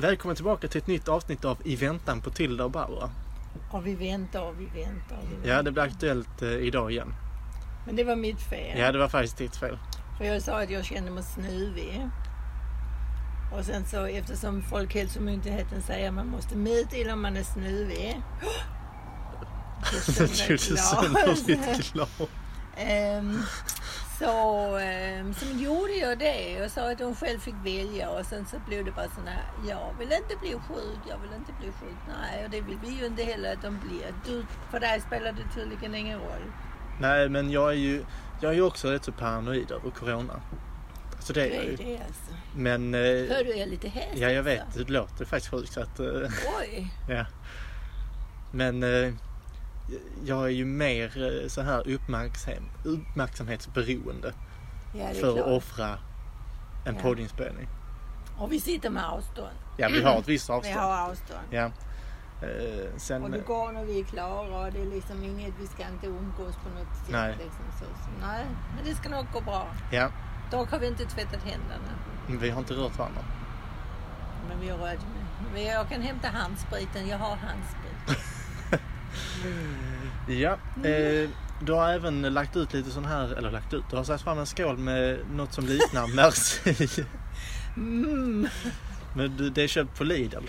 Välkommen tillbaka till ett nytt avsnitt av I väntan på Tilda och Barbara. Ja, vi väntar och vi väntar. och Vi väntar. Ja, det blir aktuellt eh, idag igen. Men det var mitt fel. Ja, det var faktiskt ditt fel. För jag sa att jag kände mig snuvig. Och sen så eftersom Folkhälsomyndigheten säger att man måste meddela om man är snuvig. Du gjorde sönder ditt glas. Ehm, så, ehm, så gjorde jag det och sa att hon själv fick välja och sen så blev det bara sån här, jag vill inte bli sjuk, jag vill inte bli sjuk. Nej, och det vill vi ju inte heller att de blir. Du, för dig spelar det tydligen ingen roll. Nej, men jag är ju, jag är ju också rätt så paranoid över corona. Så det Det är jag är ju. det alltså. Men... eh, Hör du, jag är lite häst Ja, jag också. vet. Det låter faktiskt sjukt. så att, eh, Oj. Ja. Men eh, jag är ju mer eh, så här uppmärksam, uppmärksamhetsberoende Ja, det är för att klart. offra en Ja. poddinspelning. Och vi sitter med avstånd. Ja, vi har ett visst Vi avstånd. har avstånd. Ja. Eh, Och det sen, går när vi är klara och det är liksom inget, vi ska inte umgås på något sätt. Nej. Liksom så. Så, nej, men det ska nog gå bra. ja, Dock har vi inte tvättat händerna. eh, vi har inte rört varandra. Men vi har rört med. Men jag kan hämta handspriten, jag har handsprit. Ja, Mm. eh, du har även lagt ut lite sån här, eller lagt ut, du har satt fram en skål med något som liknar merci. Mm. Men du, det är köpt på Lidl.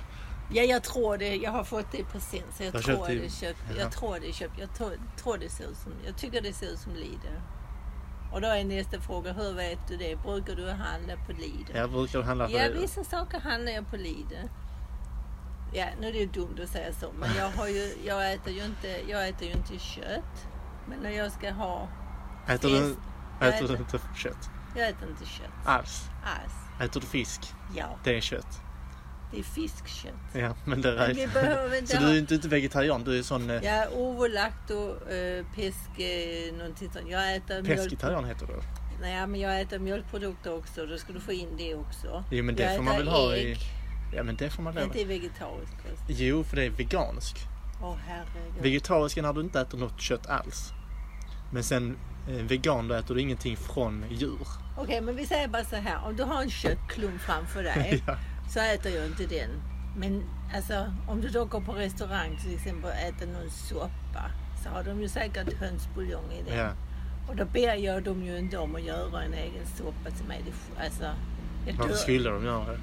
Ja, jag tror det. Jag har fått det i present. Så jag, Du har tror köpt det i- det är köpt. Jaha. Jag tror det är köpt. Jag tror, tror det ser ut som... Jag tycker det ser ut som Lidl. Och då är nästa fråga, hur vet du det? Brukar du handla på Lidl? Jag brukar handla på Ja, Lidl. vissa saker handlar jag på Lidl. Ja, nu är det ju dumt att säga så, men jag, har ju, jag, äter, ju inte, jag äter ju inte kött. Men när jag ska ha... Äter du, Fisk. äter du Äter. inte kött? Jag äter inte kött Alls. alls. Äter du fisk? Ja, Det är kött. det är fiskkött. Ja, men det Men vi räknas. behöver inte Så du är ha... inte, inte vegetarian, du är sån eh, Jag är ovolacto, eh, peske, någonting sånt. Jag äter mjölk... pesketarian heter du? Nej, men jag äter mjölkprodukter också. Då ska du få in det också. Jo, men det jag får man äter väl ha i- ägg. Ja, men det får man Nej, lov det är vegetarisk kost. Jo, för det är vegansk. Åh herregud. Vegetarisk är när du inte äter något kött alls. Men sen eh, vegan, då äter du ingenting från djur. Okej, men vi säger bara så här. Om du har en köttklump framför dig Ja. så äter jag inte den. Men alltså, om du då går på restaurang till exempel och äter någon soppa så har de ju säkert hönsbuljong i den. Ja. Och då ber jag dem ju inte om att göra en egen soppa till mig. Det, alltså, jag Varför dör- skulle de göra det?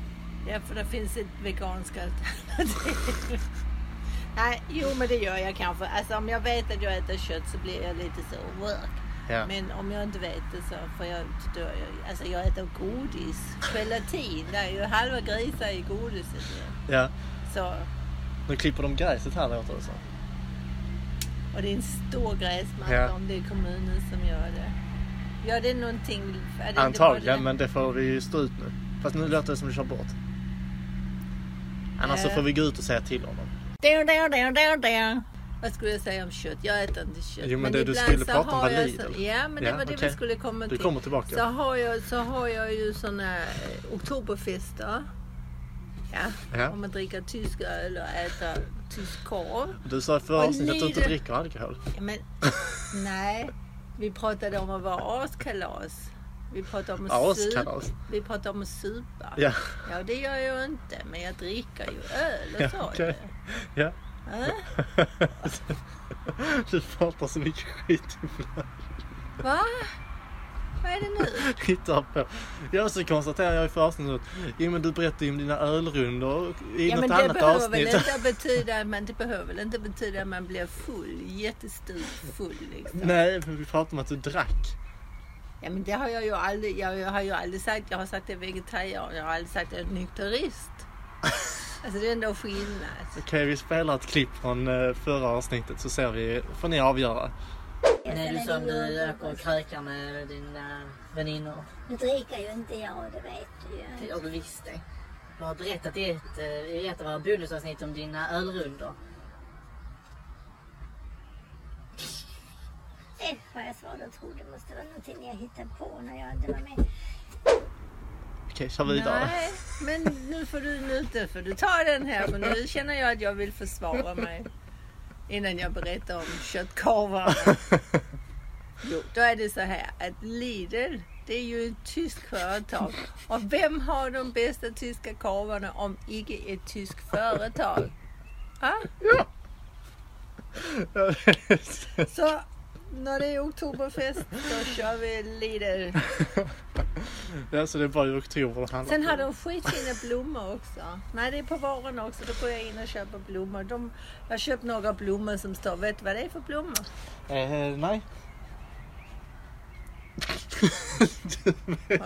Ja, för det finns ett veganskt alternativ. Nej, jo men det gör jag kanske. Alltså om jag vet att jag äter kött så blir jag lite så work. Ja. Men om jag inte vet det så får jag inte dö. Jag- Alltså jag äter godis. Gelatin, det är ju halva grisar i godiset. ju. ja. Så, Nu klipper de gräset här låter det som. och det är en stor gräsmatta Ja. om det är kommunen som gör det. Gör det någonting? Är det inte Antagligen, bara- men det får vi ju stå ut nu. Fast nu låter det som vi kör bort. Annars så Eh. får vi gå ut och säga till honom. Där, där, där, där, där. Vad skulle jag säga om kött? Jag äter inte kött. Jo, men det du ibland skulle så prata om har var jag Lidl. Så, ja, men det Ja, var det okej. vi skulle komma Du till. kommer tillbaka. Så har jag, så har jag ju såna eh, oktoberfester. Ja, Ja. om man dricker tysk öl och äter tysk korv. Du sa i förra Och avsnittet att du inte Lidl. dricker alkohol. Ja, men nej, vi pratade om att vara askalas. Vi pratade om att supa. Askalas? Vi pratade om att supa. Ja. Ja, det gör jag inte, men jag dricker ju öl Ja, och så. okej. Ja. Ja. Du pratar så mycket skit ibland. Va? Vad är det nu? Hittar på. Ja, så konstaterar jag i förra avsnittet. Jo, men du berättade ju om dina ölrundor i Ja, något men det annat behöver, avsnitt. väl inte betyda, men det behöver väl inte betyda att man blir full, jättestor full liksom. Nej, men vi pratade om att du drack. Ja, men det har jag ju aldrig, jag, jag har ju aldrig sagt, jag har sagt att jag är vegetarian, jag har aldrig sagt att jag är nykterist. Alltså det är ändå skillnad. Okej, vi spelar ett klipp från eh, förra avsnittet så ser vi, får ni avgöra. När du som du liksom röker och krökar med dina väninnor. Nu dricker ju inte jag, det vet du ju. Ja, du visste. Du har berättat i ett, eh, i ett av våra bonusavsnitt om dina ölrundor. Det har jag svårt att tro. Det måste vara någonting jag hittade på när jag inte var med. Okej, kör vidare. Nej, men nu får du, nu inte- får du ta den här för nu känner jag att jag vill försvara mig. Innan jag berättar om köttkorvar. Jo, då är det så här att Lidl, Det är ju ett tyskt företag. Och vem har de bästa tyska korvarna om icke ett tyskt företag? Ah? Ja! Så när det är oktoberfest då kör vi Lidl. ja, så det är bara i oktober det handlar Sen har om. de skitfina blommor också. Nej, det är på våren också. Då går jag in och köper blommor. De, jag har köpt några blommor som står... Vet du vad det är för blommor? Eh, nej.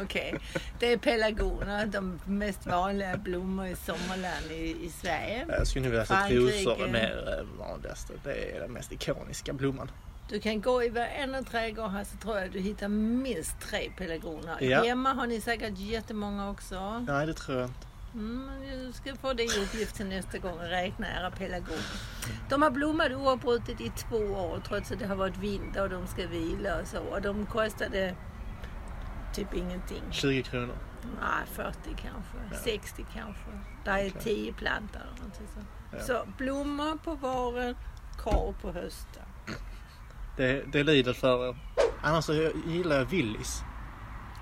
Okej. Det är pelargoner, de mest vanliga blommor i sommarland i, i Sverige. Jag skulle nog vilja säga att Frankrike. rosor är mer eh, vanligaste. Det är den mest ikoniska blomman. Du kan gå i varenda trädgård här så tror jag du hittar minst tre pelargoner. Ja. Hemma har ni säkert jättemånga också. Nej, det tror jag inte. Mm, du ska få det i uppgift till nästa gång och räkna era pelargoner. De har blommat oavbrutet i två år trots att det har varit vinter och de ska vila och så. Och de kostade typ ingenting. 20 kronor. Nej, 40 kanske. 60 kanske. Där är 10 plantor eller någonting så. Ja. så blommor på våren, korv på hösten. Det, det lider för er. Annars så gillar jag Willys.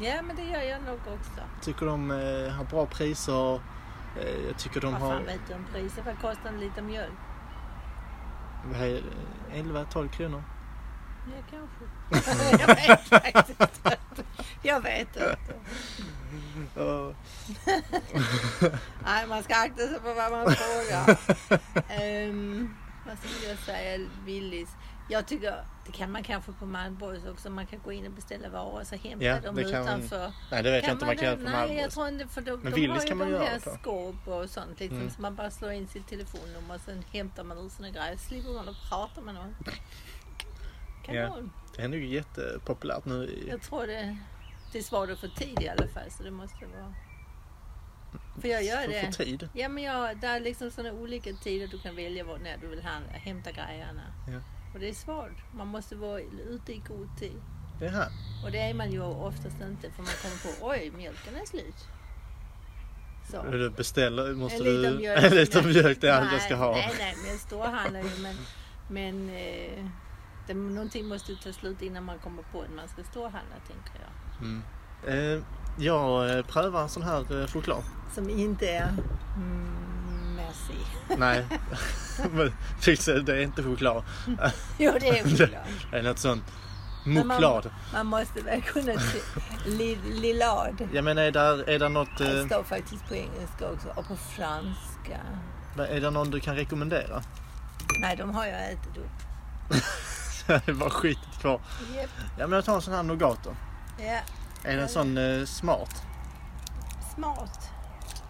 Ja, men det gör jag nog också. Tycker de eh, har bra priser. Eh, jag tycker de Vad har... fan vet du om priset? Vad kostar en liter mjölk? Vad är det? 11-12 kronor. Ja, kanske. jag vet faktiskt inte. Jag vet inte. Ja. Nej, man ska akta sig för vad man frågar. Ehm, vad skulle jag säga? Willys. Jag tycker, det kan man kanske på Malmborgs också. Man kan gå in och beställa varor och så hämta Ja, dem det kan man- utanför. nej, det vet jag inte om man kan göra det? på Nej, Malmö. jag tror inte för de, Men de har Willys ju kan man de göra här på. skåp och sånt liksom. Mm. Så man bara slår in sitt telefonnummer och sen hämtar man ut sina grejer. Slipper man och prata med någon. Ja. Kanon. Det är nog jättepopulärt nu i... Jag tror det, det svarade för tid i alla fall så det måste vara. För jag gör för, det. för tid. Ja men jag, det är liksom sådana olika tider du kan välja var, när du vill han- hämta grejerna. Ja. Och det är svårt. Man måste vara ute i god tid. Det här. Och det är man ju oftast inte för man kommer på oj mjölken är slut. Så. Du beställer, måste En du... liten mjölk. En liten mjölk, det är allt Nej, jag ska ha. Nej, nej, men stor handlar ju. Men, men eh, det, någonting måste ju ta slut innan man kommer på att man ska storhandla, tänker jag. Mm. Eh, jag eh, prövar en sån här eh, choklad. Som inte är mm, Merci. Nej, men fixa, det är inte choklad. Jo, det är choklad. Det är något sånt. Men man- Moklad. Man måste väl kunna... se- Li, lilad. Ja men är där, är där något, Det eh, står faktiskt på engelska också och på franska. är där någon du kan rekommendera? Nej, de har jag ätit upp. det är bara skitet kvar. Japp. Ja men jag tar en sån här nougat då. Ja, Är det en sån eh, smart? smart.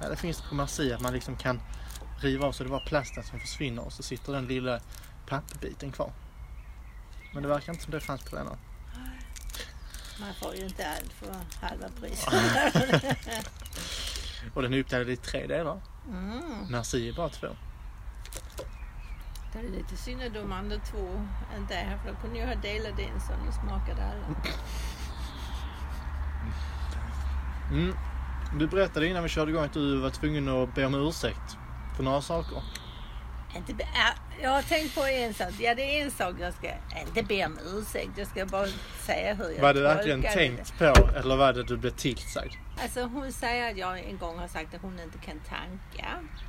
Ja, det finns på Merci att man liksom kan riva av så det bara plasten som försvinner och så sitter den lilla pappbiten kvar. Men det verkar inte som det fanns på den här. Man får ju inte allt för halva priset. Och den är uppdelad i tre delar. Mm. Merci är bara två. Det är lite synd att de andra två inte är här för då kunde jag ha delat en så nu smakade alla. Mm. Du berättade innan vi körde igång att du var tvungen att be om ursäkt för några saker. Inte be- ja, jag har tänkt på en sak. Ja, det är en sak jag ska inte be om ursäkt. Jag ska bara säga hur jag Var det verkligen tolkade tänkt på eller var det du blev tillsagd? det. Alltså hon säger att jag en gång har sagt att hon inte kan tanka.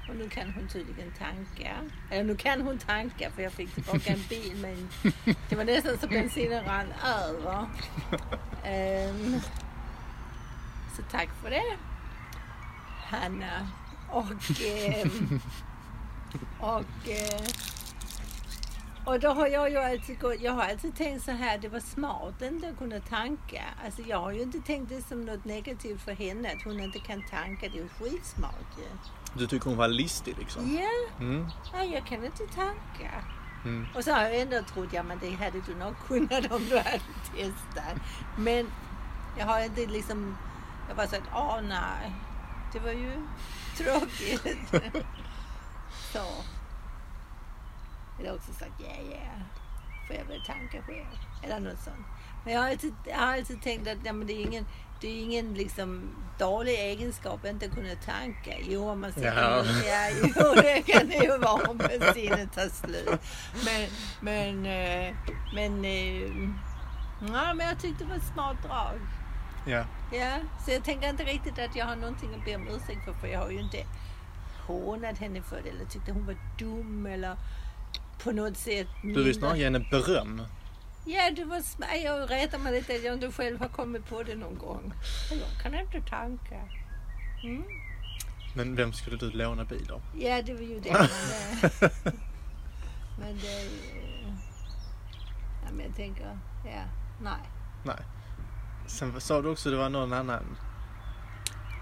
Och nu kan hon tydligen tanka. Eller nu kan hon tanka för jag fick tillbaka en bil men det var nästan så bensinen rann över. Ehm, så tack för det, Hanna. Och, ehm, och, eh, och då har jag ju alltid, gått, jag har alltid tänkt så här, det var smart inte att kunna tanka. Alltså jag har ju inte tänkt det som något negativt för henne, att hon inte kan tanka. Det är ju skitsmart ju. Du tycker hon var listig liksom? Ja, Mm. nej, jag kan inte tanka. Mm. Och så har jag ändå trott, ja men det hade du nog kunnat om du hade testat. Men jag har inte liksom, jag bara sagt, åh nej, det var ju tråkigt. så. Eller också sagt, ja ja, får jag väl tanka själv. Eller något sånt. Men jag har alltid, jag har alltid tänkt att ja, men det är ingen, det är ingen liksom dålig egenskap att inte kunna tanka. Jo, om man sätter Ja. Ja, jo, det kan det ju vara om bensinen tar slut. Men, men, eh, men, eh, ja, men jag tyckte det var ett smart drag. Ja. Ja, så jag tänker inte riktigt att jag har någonting att be om ursäkt för, för jag har ju inte hånat henne för det eller tyckte hon var dum eller på något sätt... Du vill snarare mindre- ge henne beröm. Ja, du var smart. Jag rätar mig lite att jag inte själv har kommit på det någon gång. Men Jag kan inte tanka. Mm. Men vem skulle du låna bil av? Ja, det var ju det. Men, eh, men det... är ju- Ja, men jag tänker, ja, nej. Sen sa du också att det var någon annan.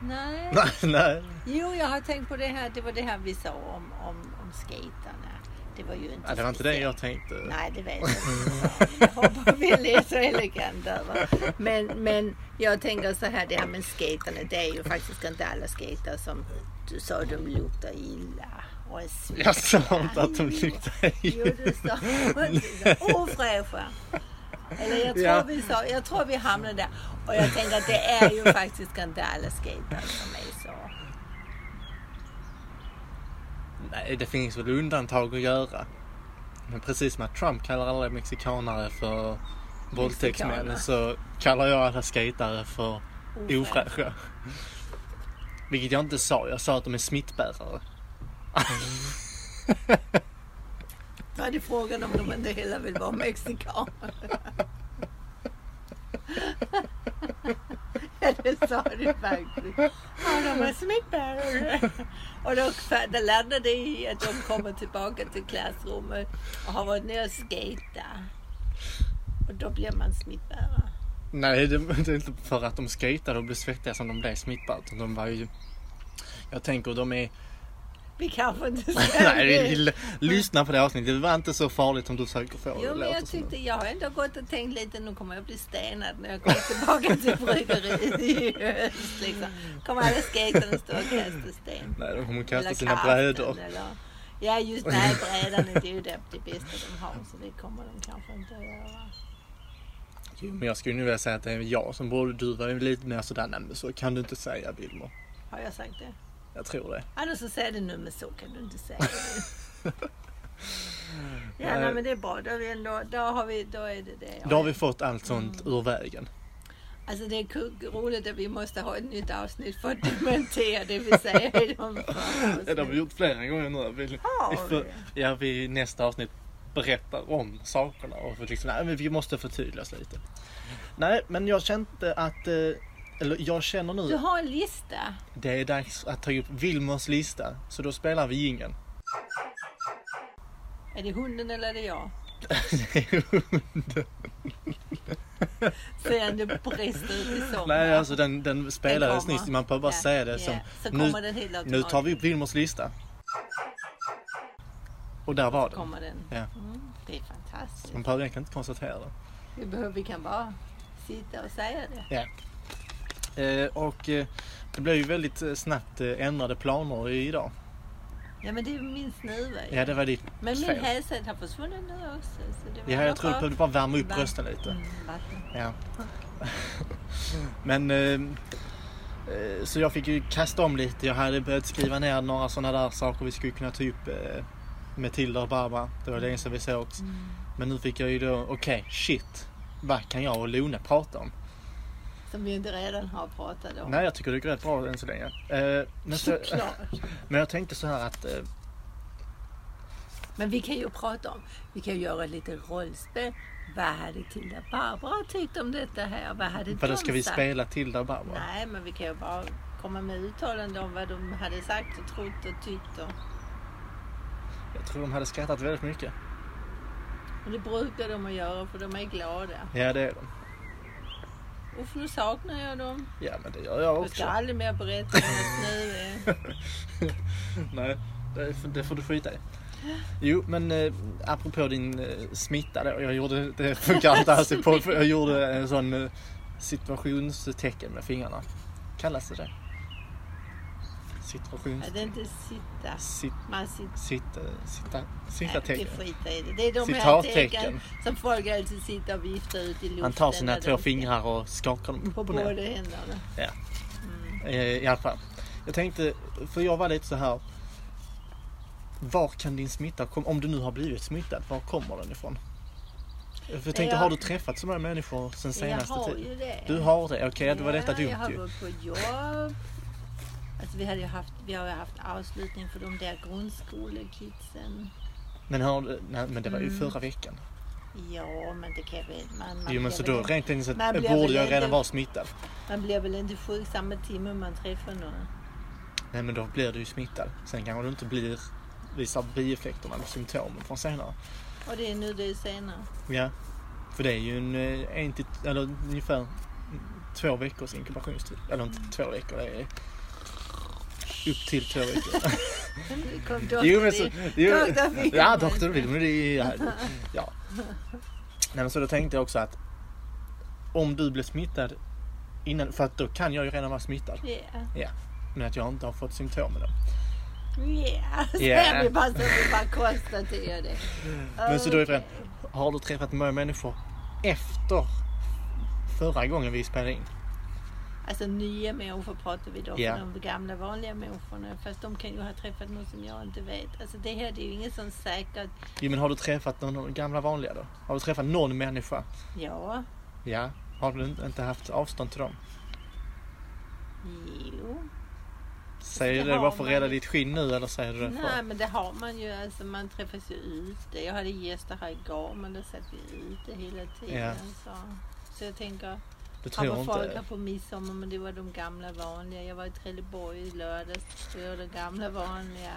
Nej. Nej, nej. Jo, jag har tänkt på det här. Det var det här vi sa om, om, om skaterna. Det var ju inte Ja, det var inte det speciellt. jag tänkte. Nej, det vet jag inte. Jag hoppar väldigt så elegant över. Men, men jag tänker så här, det här med skaterna, det är ju faktiskt inte alla skater som du sa, de luktar illa och är svettiga. Jag sa inte att de luktar Jo, du sa ofräscha. Eller jag tror, Ja. vi sa, jag tror vi hamnade där. Och jag tänker att det är ju faktiskt inte alla skater som är så. Nej, det finns väl undantag att göra. Men precis som att Trump kallar alla mexikanare för våldtäktsmän så kallar jag alla skatare för ofräscha. Vilket jag inte sa. Jag sa att de är smittbärare. Då är det frågan om de inte heller vill vara mexikaner. ja, det sa du faktiskt. Ja, de är smittbärare. Och då det landade i att de kommer tillbaka till klassrummet och har varit nere och skejtat. Och då blir man smittbärare. Nej, det, det är inte för att de skejtade och blev svettiga som de blev smittbärare. utan De var ju... Jag tänker de är... Vi kanske inte ska... Nej, l- lyssna på det avsnittet. Det var inte så farligt som du försöker få det Jo, men låter jag som. tyckte, jag har ändå gått och tänkt lite, nu kommer jag bli stenad när jag kommer tillbaka till bryggeriet i höst. Liksom. Kommer alla skaterna stå och kasta sten? Nej, de kommer kasta Eller sina kaften, brädor. eller- Ja, just nej, brädan är det ju det, det bästa de har, så det kommer de kanske inte att göra. Jo, men jag skulle nu vilja säga att det är jag som borde... Du var ju lite mer sådär, nej men så kan du inte säga Wilmer. Har jag sagt det? Jag tror det. Annars så säg det nu, men så kan du inte säga det. Ja, nej, men det är bra. Då, är vi ändå, då, har vi, då är det det. Då har vi fått allt sånt Mm. ur vägen. Alltså det är kul- roligt att vi måste ha ett nytt avsnitt för att dementera det vi säger i de förra Ja, det har vi avsnitten. gjort flera gånger nu. Vi, Har vi vi? får, ja, vi i nästa avsnitt berättar om sakerna och får liksom, nej, men vi måste förtydliga oss lite. Nej, men jag kände att, eh, eller jag känner Du nu, har en lista. det är dags att ta upp Wilmers lista. Så då spelar vi jingeln. Är det hunden eller är det jag? Sen det brister ut i sommar. nej, alltså den, den spelades kommer. nyss, man behöver bara Ja, säga det. ja. Som, Så nu, kommer den helt automatiskt. nu tar vi upp Wilmers lista. Och där var den. Kommer den. Ja. Mm, det är fantastiskt. Man behöver egentligen inte konstatera det. Vi, behöver, vi kan bara sitta och säga det. Ja. Eh, och eh, det blev ju väldigt eh, snabbt eh, ändrade planer i- idag. Ja men det är min snuva ju. Ja, det var ditt Men min fel. hässäd har försvunnit nu också. Så det var Ja, nog jag tror du bra. behövde bara värma upp Va- rösten lite. Mm, vatten. Ja. Men... Eh, eh, så jag fick ju kasta om lite. Jag hade börjat skriva ner några sådana där saker vi skulle kunna ta upp eh, med Tilda och Barbara. Det var länge sedan vi sågs. Mm. Men nu fick jag ju då, okej, shit. Vad kan jag och Lone prata om? Som vi inte redan har pratat om. Nej, jag tycker det går rätt bra än så länge. Eh, men, så, Såklart. men jag tänkte så här att... Eh, Men vi kan ju prata om, vi kan ju göra lite rollspel. Vad hade Tilda och Barbara tyckt om detta här? Vad hade Vadå, de ska vi sagt? spela Tilda och Barbara? Nej, men vi kan ju bara komma med uttalanden om vad de hade sagt och trott och tyckt. Och, Jag tror de hade skrattat väldigt mycket. och det brukar de att göra för de är glada. Ja, det är de. Uff, nu saknar jag dem. Ja, men det gör jag Jag också. ska aldrig mer berätta om att nu är. Nej, det, får- det får du skita i. Jo, men eh, apropå din eh, smitta då. Jag gjorde, det funkar inte alls i podd, för Jag gjorde en sån eh, situationstecken med fingrarna. Kallas det det? Situations... Ja, det är inte sitta. Sit, eh, Man sitter. sitta, sitta, sitta Nej, det tecken. skiter i det. Det är de här Citattecken. tecken som folk alltid sitter och viftar ut i luften. Han tar sina när de två ska- fingrar och skakar dem upp På och ner. båda händerna. Eh, I alla fall. Jag tänkte, för jag var lite så här. Var kan din smitta komma, om du nu har blivit smittad, var kommer den ifrån? För jag tänkte, Ja. har du träffat så många människor sen jag senaste har tiden? ju det. Du har det? Okej, det var detta Ja, Jag dumt har ju. varit på jobb. Alltså vi, hade ju haft, vi har ju haft avslutning för de där grundskolekidsen. Men, har, du- nej, men det var ju förra veckan. Ja, men det kan väl Mm. man... man jo men blir så väl då inte- rent tekniskt man sett blir borde väl jag inte- redan vara smittad. Man blir väl inte sjuk samma timme man träffar någon. Nej men då blir du ju smittad. Sen kanske du inte blir, visar bieffekterna eller symptomen från senare. Och det är nu det är senare. Ja. För det är ju en, eh, en till, eller ungefär två veckors inkubationstid. Eller inte två veckor, det är upp till två veckor. Nu kom doktorn jo men så... in. Jo, Doktor Wilmer. ja, doktor Wilmer. det är- Ja, ja. Nej men så då tänkte jag också att om du blir smittad innan, för att då kan jag ju redan vara smittad. Ja, Men att jag inte har fått symptomen då. ja. Så Ja. är vi bara så vi bara konstaterar det. Men så då är frågan, Okej. har du träffat många människor efter förra gången vi spelade in? Alltså nya människor pratar vi då Ja. om, de gamla vanliga människorna. Fast de kan ju ha träffat någon som jag inte vet. Alltså det här det är ju inget sånt säkert. Jo men har du träffat någon av de gamla vanliga då? Har du träffat någon människa? Ja, Ja. Har du inte- inte haft avstånd till dem? jo. Säger Det du det har bara för att man rädda ju. ditt skinn nu eller säger du det Nej för... men det har man ju. Alltså man träffas ju ute. Jag hade gäster här igår men då satt vi ute hela tiden. Ja. Så. så jag tänker, Du han tror var folk här inte... på midsommar men det var de gamla vanliga. Jag var i Trelleborg i lördags. Det var de gamla vanliga.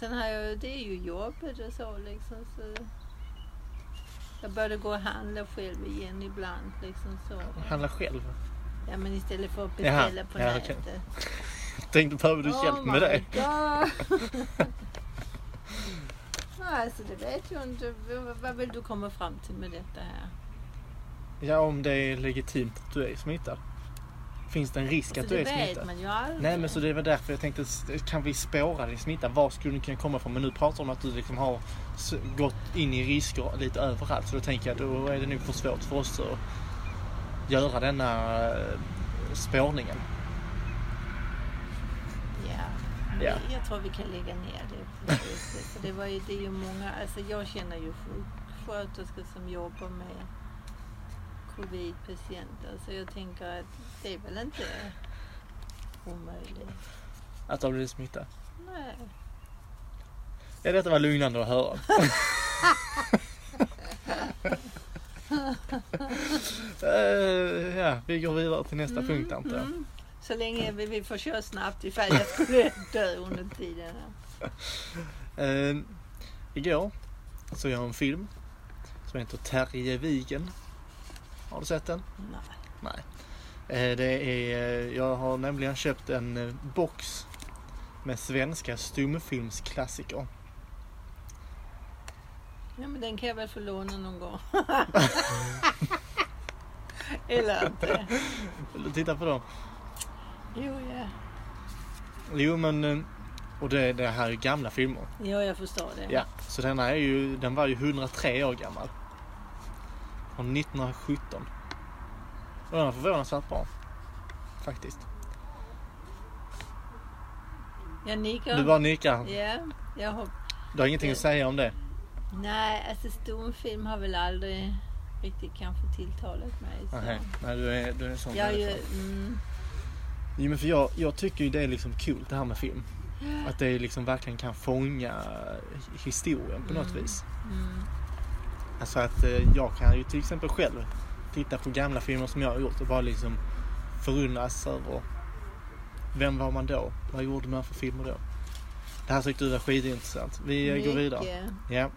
Sen har jag ju- det är ju jobbet och så liksom. Så jag började gå och handla själv igen ibland. Liksom så. Handla själv. Ja men istället för att beställa Jaha, på ja, okej. nätet. Tänkte behöver du hjälp Oh med det? Nej, alltså det vet jag inte. V- v- Vad vill du komma fram till med detta här? Alltså, Ja om det är legitimt att du är smittad. Finns det en risk Så att du Alltså, det är vet smittad? man ju aldrig. Nej men så det var därför jag tänkte, kan vi spåra din smitta? Var skulle den kunna komma ifrån? Men nu pratar du om att du liksom har s- gått in i risker lite överallt. Så då tänker jag, då är det nog för svårt för oss att göra denna eh, spårningen. Ja. Ja. Men Jag tror vi kan lägga ner det. på slutet, För det, var ju, det är ju många, alltså jag känner ju sjuksköterskor som jobbar med covid-patienter. Så jag tänker att det är väl inte omöjligt. Att du har blivit smittad. Nej. Ja, detta var lugnande att höra. Eh, ja, vi går vidare till nästa punkt antar jag. Mm. Så länge vi, vi får köra snabbt ifall jag skulle dö under tiden. Eh, igår såg jag en film som heter Terje Vigen. Har du sett den? Nej. Eh, det är, eh, jag har nämligen köpt en eh, box med svenska stumfilmsklassiker. Ja, men den kan jag väl få låna någon gång. Eller inte. Vill du titta på dem? Jo, ja. Jo men, eh, och det, det här är ju gamla filmer. Jo, jag förstår det. Ja, så den här är ju, den var ju 103 år gammal. Från 1917. Och den var förvånansvärt bra. Faktiskt. Jag nickar. Du bara nickar. Ja, jag hopp... Du har ingenting att säga om det? Nej, alltså stumfilm har väl aldrig riktigt kanske tilltalat mig. Så. Nej, nej du är, du är en sån Jag är ju... människa. Mm, Jo, men för jag, jag tycker ju det är liksom kul det här med film. Att det liksom verkligen kan fånga historien på något vis. mm. Alltså att eh, jag kan ju till exempel själv titta på gamla filmer som jag har gjort och bara liksom förundras över vem var man då? Vad gjorde man för filmer då? Det här tyckte du var skitintressant. Vi eh, går vidare. Mycket. Ja.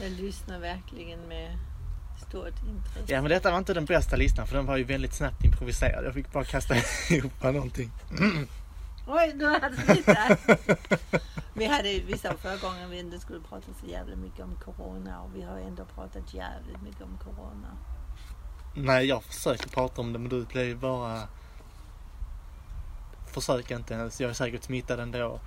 Jag lyssnar verkligen med stort intresse. ja, men detta var inte den bästa listan för den var ju väldigt snabbt improviserad. Jag fick bara kasta ihop någonting. Oj, nu hade vi inte... Vi, hade, vi sa förra gången vi inte skulle prata så jävla mycket om corona och vi har ändå pratat jävligt mycket om corona. Nej, jag försöker prata om det men du blir bara... Försök inte ens. Jag är säkert smittad ändå.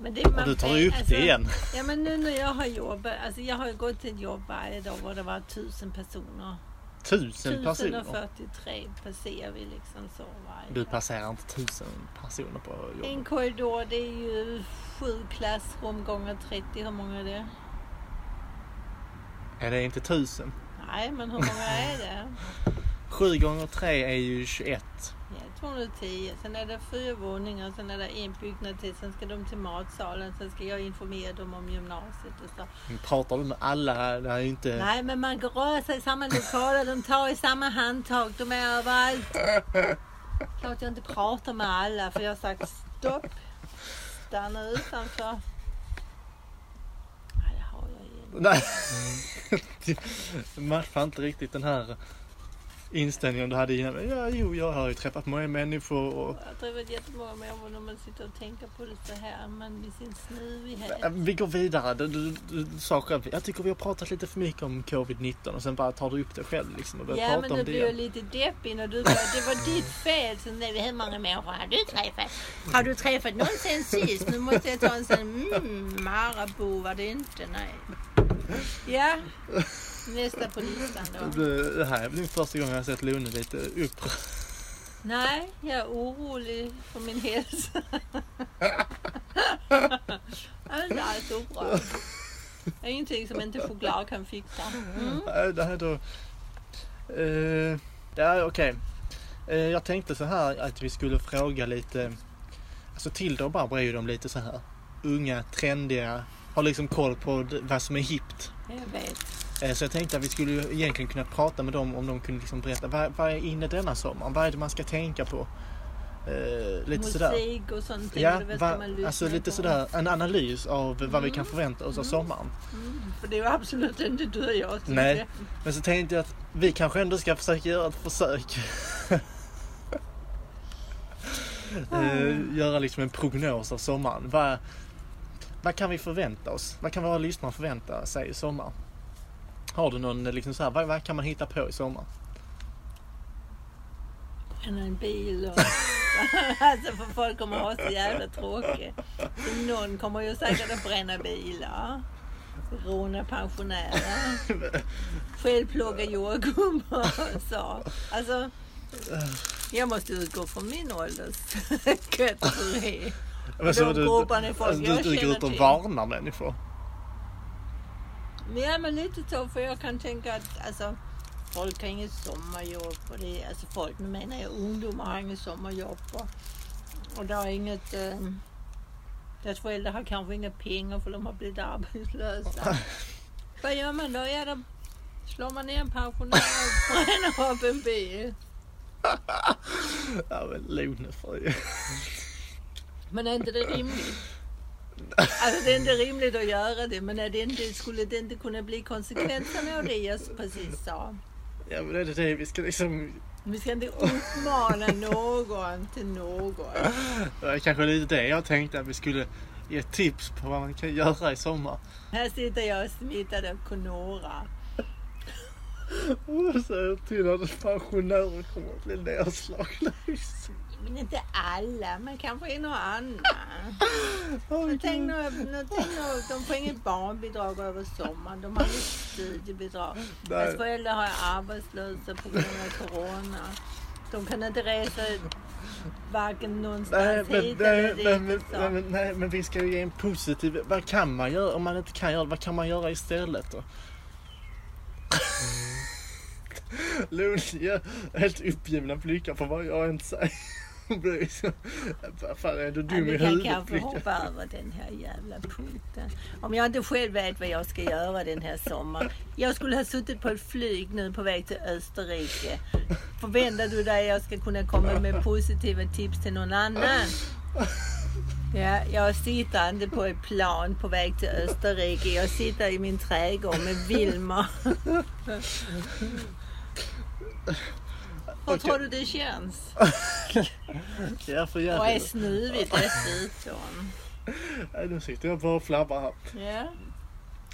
Men det, man, Och du tar ju upp alltså, det igen. Ja men nu när jag har jobbat, alltså jag har ju gått till ett jobb varje dag och det var tusen personer. Tusen personer. 1043 passerar vi liksom så varje Du dag. passerar inte tusen personer på jobbet. En korridor det är ju sju klassrum gånger 30, hur många är det? Är det inte tusen? Nej, men hur många är det? Sju gånger tre är ju 21. Ja, 210. Sen är det fyra våningar, sen är det en byggnad till, sen ska de till matsalen, sen ska jag informera dem om gymnasiet och så. Men Pratar du med alla här? Det här är ju inte... Nej, men man går röra sig i samma lokaler, de tar i samma handtag, de är överallt. Klart jag inte pratar med alla, för jag har sagt stopp. Stanna utanför. Nej, det har jag ju inte. Nej. Du matchar inte riktigt den här inställningen du hade innan. Ja, jo, jag har ju träffat många människor och... Jag har träffat jättemånga människor när man sitter och tänker på det så här, men med sin snuvighet. Ja, Vi går vidare. Du, du, du, du sa själv, jag tycker vi har pratat lite för mycket om covid-19 och sen bara tar du upp det själv liksom och börjar Ja prata men om du det. blir jag lite deppig när du bara, det var ditt fel. Så nej, hur många människor har du träffat? Har du träffat någon sen sist? Nu måste jag ta en sån, mm, Marabou var det inte, nej. Ja, nästa på listan då. Det, det här är väl första gången jag har sett Lone lite upprörd. Nej, jag är orolig för min hälsa. Jag är inte alls upprörd. Det är ingenting som inte choklad kan fixa. Mm. Äh, Det här då... Eh, det här är okej. Eh, jag tänkte så här att vi skulle fråga lite... Alltså Tilda och Barbro är ju de lite så här unga, trendiga, har liksom koll på d- vad som är hippt. Jag vet. Eh, Så jag tänkte att vi skulle ju egentligen kunna prata med dem om de kunde liksom berätta vad, vad är inne denna sommaren? Vad är det man ska tänka på? Eh, lite sådär. Musik och sånt. Ja, tänker du, vad ska va, man lyssna alltså lite på? Mm. sådär en analys av vad vi kan förvänta oss av sommaren. För det var absolut inte du och jag. som Nej. det. Men så tänkte jag att vi kanske ändå ska försöka göra ett försök. Ah. eh, göra liksom en prognos av sommaren. Vad, vad kan vi förvänta oss? Vad kan våra lyssnare förvänta sig i sommar? Har du någon eh, liksom så här, vad, vad kan man hitta på i sommar? Än en bil och... alltså för folk kommer att ha så jävla tråkigt. Så någon kommer ju säkert att bränna bilar. Råna pensionärer. Själv plocka jordgubbar och så. Alltså, jag måste utgå från min ålderskategori. Men så De du, grupperna är folk alltså, jag du dyker känner ut och till. varnar människor. Men ja, men lite så, för jag kan tänka att alltså, folk har inget sommarjobb. Och det, alltså folk, nu menar jag ungdomar, har inget sommarjobb. Och, och det har inget... Eh, deras föräldrar har kanske inga pengar för de har blivit arbetslösa. Vad gör man då? Ja, då slår man ner en pensionär och bränner upp en bil. Ja men Lone får ju... Men är inte det rimligt? Alltså det är inte rimligt att göra det, men är det inte, skulle det inte kunna bli konsekvenserna av det jag precis sa? Ja men det är det vi ska liksom... Vi ska inte uppmana någon till något. Det var kanske lite det jag tänkte att vi skulle ge tips på vad man kan göra i sommar. Här sitter jag och smittar av Conora. Och så till att pensionärer kommer att bli nedslagna. Men inte alla, men kanske en och annan. Men Tänk nu, nu- tänk nu, de får inget barnbidrag över sommaren. De har inget studiebidrag. Deras Nej. föräldrar är arbetslösa på grund av corona. De kan inte resa varken Nej någonstans men, hit nej, eller men, dit. liksom. men, och nej, så. men, nej, men vi ska ju ge en positiv... Vad kan man göra om man inte kan göra det? Vad kan man göra istället Mm. då? Lund gör helt uppgivna blickar på vad jag än säger. Hon blir liksom... Vad fan är du Ja, dum i vi kan kanske huvudet? hoppa över den här jävla punkten. Om jag inte själv vet vad jag ska göra den här sommaren. Jag skulle ha suttit på ett flyg nu på väg till Österrike. Förväntar du dig att jag ska kunna komma med positiva tips till någon annan? Ja, jag sitter inte på ett plan på väg till Österrike. Jag sitter i min trädgård med Wilmer. Hur tror du det känns? Ja, för Och är jävligt. snuvigt dessutom. Nej, Nu sitter jag bara och flabbar här. Ja.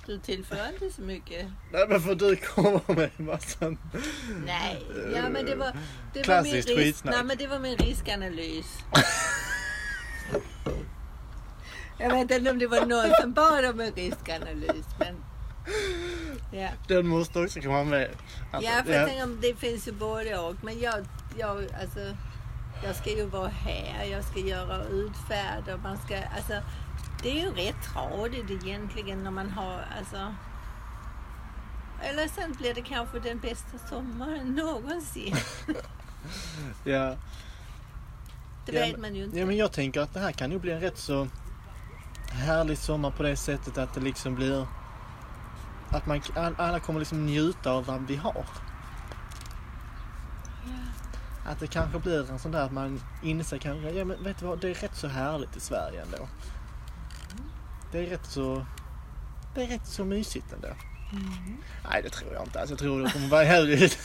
Du tillför inte så mycket. Nej men för du kommer med en massa... Nej. Ja, men det var, det var min Klassiskt risk, skitsnack. nej, men det var min riskanalys. Jag vet inte om det var någon som bad om en riskanalys. Men... Ja. Den måste också komma med. Alltså, ja, för jag tänker om det finns ju både och. Men jag, jag, alltså, jag ska ju vara här, jag ska göra utfärder, man ska, alltså, det är ju rätt tradigt egentligen när man har, alltså, Eller sen blir det kanske den bästa sommaren någonsin. Ja, Det Ja, vet men- man ju inte. ja, men jag tänker att det här kan ju bli en rätt så härlig sommar på det sättet att det liksom blir att man, all- alla kommer liksom njuta av vad vi har. Att det kanske blir en sån där att man inser kanske, ja men vet du vad, det är rätt så härligt i Sverige ändå. Det är rätt så, det är rätt så mysigt ändå. Nej det tror jag inte alls, jag tror det kommer vara jävligt.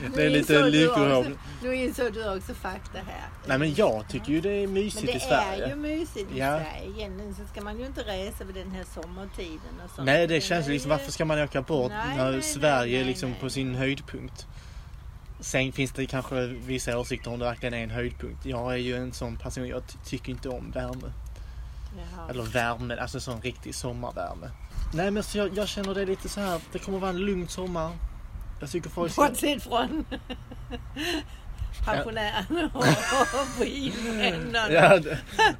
Det är Nu lite insåg du lyckohov. också- Nu insåg du också fakta här. Nej men jag tycker ju det är Men mysigt i det Sverige. är ju mysigt i Ja. Sverige. Egentligen så ska man ju inte resa vid den här sommartiden och sånt. Nej det Men känns är liksom, ju- varför ska man åka bort Nej, när nej, Sverige nej, är nej, liksom nej. på sin höjdpunkt? Sen finns det kanske vissa åsikter om det verkligen är en höjdpunkt. Jag är ju en sån person, jag ty- tycker inte om värme. Jaha. Eller värme, alltså sån riktig sommarvärme. Nej men så jag, jag känner det lite så här, det kommer vara en lugn sommar. Jag tycker folk... Bortsett från pensionärerna och bilvännerna. Ja, det-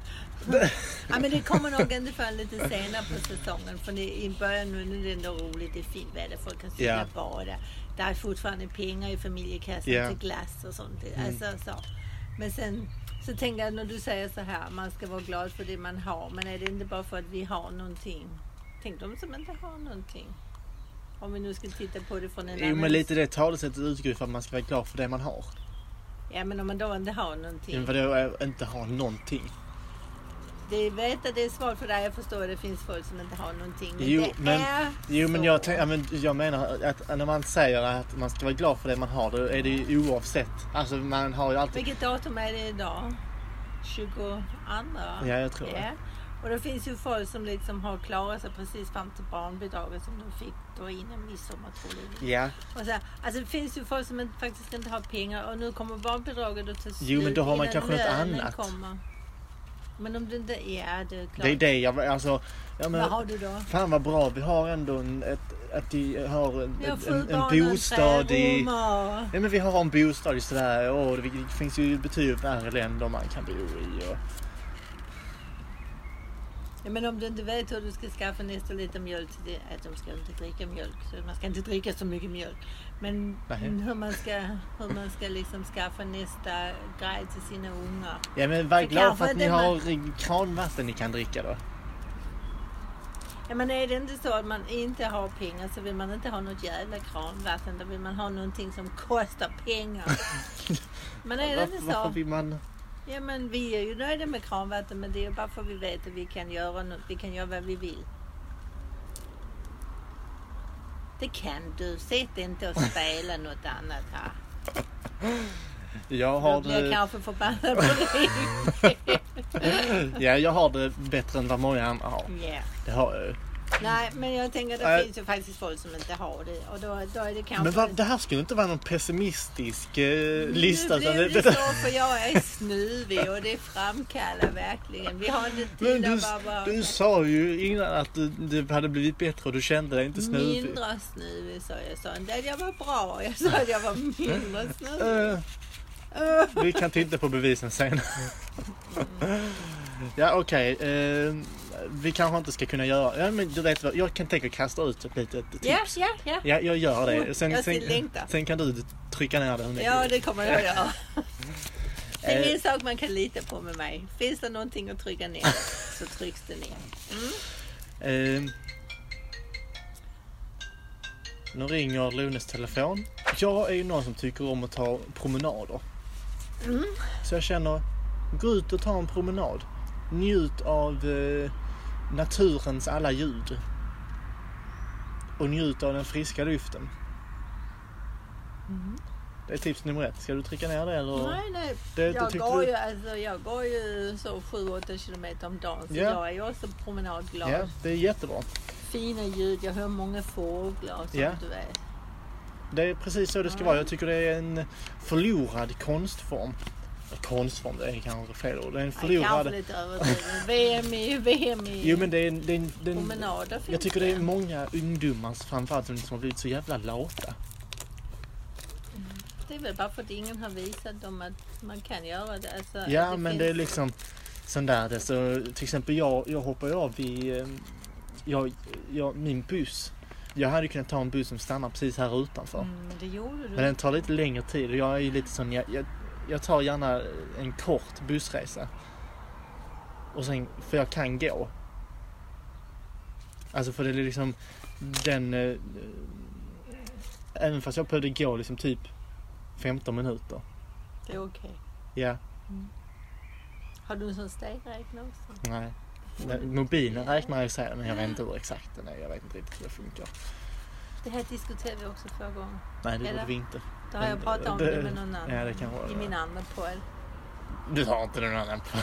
Ja, men det kommer nog ändå för lite senare på säsongen. För det, i början nu när det är ändå roligt, det är fint väder, folk kan cykla Ja. bada. Det är fortfarande pengar i familjekassan Ja. Mm. till glass och sånt. Alltså, så. Men sen så tänker jag när du säger så här, man ska vara glad för det man har. Men är det inte bara för att vi har någonting? Tänk de som inte har någonting. Om vi nu ska titta på det från en jo annan... men lite det talesättet utgår ju för att man ska vara glad för det man har. Ja men om man då inte har någonting. Men vadå eh, inte ha någonting? Det vet att det är svårt för dig, jag förstår att det finns folk som inte har någonting. Men Jo, det men- är Jo men så. jag, tänk, ja, men jag menar att när man säger att man ska vara glad för det man har, då är det ju oavsett. Alltså man har ju alltid... Vilket datum är det idag? 22? Ja, jag tror det. Ja. Och det finns ju folk som liksom har klarat sig precis fram till barnbidraget som de fick då innan midsommar tror jag. Ja, Och så, här, alltså det finns ju folk som inte, faktiskt inte har pengar och nu kommer barnbidraget att ta slut Jo, men då har man innan kanske något lönen annat. Kommer. Men om du inte är det, är klart. det är det jag... Alltså, ja, men, Vad har du då? fan vad bra vi har ändå en, ett, att vi har en, Vi har en, sju en barn och bostad tre i... rum och- Nej men vi har en bostad i Sverige och det finns ju betydligt värre länder man kan bo i. Och, Ja, men om du inte vet hur du ska skaffa nästa liter mjölk till det, att de ska inte dricka mjölk, så man ska inte dricka så mycket mjölk. Men Nej. hur man ska, hur man ska liksom skaffa nästa grej till sina ungar. ja men var Så glad för kanske att ni det man- har eh, kranvatten ni kan dricka då. Ja, men är det inte så att man inte har pengar så vill man inte ha något jävla kranvatten, då vill man ha någonting som kostar pengar. Men är det inte Varför, varför så? vill man... Ja, men vi är ju nöjda med kranvatten, men det är ju bara för att vi vet att vi kan göra något, vi kan göra vad vi vill. Det kan du, sitt inte och spela något annat här. Jag Då har blir jag det... kanske förbannad på dig. Ja, jag har det bättre än vad många andra har. Ja. Det har jag ju. Nej, men jag tänker att det Nej. finns ju faktiskt folk som inte har det och då, då är det kanske... Men vad- det här skulle inte vara någon pessimistisk eh, lista. Nu utan blev det- det så för jag är snuvig och det framkallar verkligen. Vi har inte Men tid du, att bara vara du sa ju innan att du, det hade blivit bättre och du kände dig inte snuvig. mindre snuvig sa jag. Jag sa inte att jag var bra, jag sa att jag var mindre snuvig. Eh, vi kan titta på bevisen sen. ja okej, eh, vi kanske inte ska kunna göra... Ja, men du vet vad, jag kan tänka kasta ut ett litet tips. Ja, ja, ja. Ja, jag gör det. Sen, Jag sen, ser längtar. sen kan du trycka ner det hur mycket Ja, du vill. det kommer jag att göra. Det är Eh. en sak man kan lita på med mig. Finns det någonting att trycka ner så trycks det ner. Eh, nu ringer Lunes telefon. Jag är ju någon som tycker om att ta promenader. Mm. Så jag känner, gå ut och ta en promenad. Njut av eh, naturens alla ljud. Och njut av den friska luften. Det är tips nummer ett. Ska du trycka ner det eller? Mm. Nej, nej. Det, det Jag Eh, tyckte går, du- ju, alltså, jag går ju så 7-8 kilometer om dagen så Ja. jag är ju också promenadglad. Ja, det är jättebra. Fina ljud, jag hör många fåglar och sånt Ja. du vet. Det är precis så det ska vara. Jag tycker det är en förlorad konstform. Konstform, det är kanske fel ord. Det är en Nej, kanske förlorad... lite överdrivet. VM i, VM i Jo men det är en... Det är en, det är en promenader finns jag tycker det är många ungdomar framförallt som liksom har blivit så jävla lata. Det är väl bara för att ingen har visat dem att man kan göra det. Alltså, Ja att men finns- det är liksom sån där det. Så, till exempel jag, jag hoppar ju av i... eh, Jag, jag, min buss. jag hade kunnat ta en buss som stannar precis här utanför. Mm, men det gjorde du. Men den tar lite längre tid och jag är ju lite sån, jag, jag, jag tar gärna en kort bussresa. Och sen, för jag kan gå. Alltså för det är liksom den... eh, Även fast jag behövde gå liksom typ 15 minuter. Det är okej. Ja, Har du en sån stegräknare också? nej. Men Mobilen räknar jag sig, men jag vet inte hur exakt den är. Jag vet inte riktigt hur det funkar. Det här diskuterade vi också förra gången. Nej, det Eller? borde vi inte. Då har jag Men, pratat om det- det, med någon annan. ja, det kan vara I det. min andra podd. Du har inte någon annan på.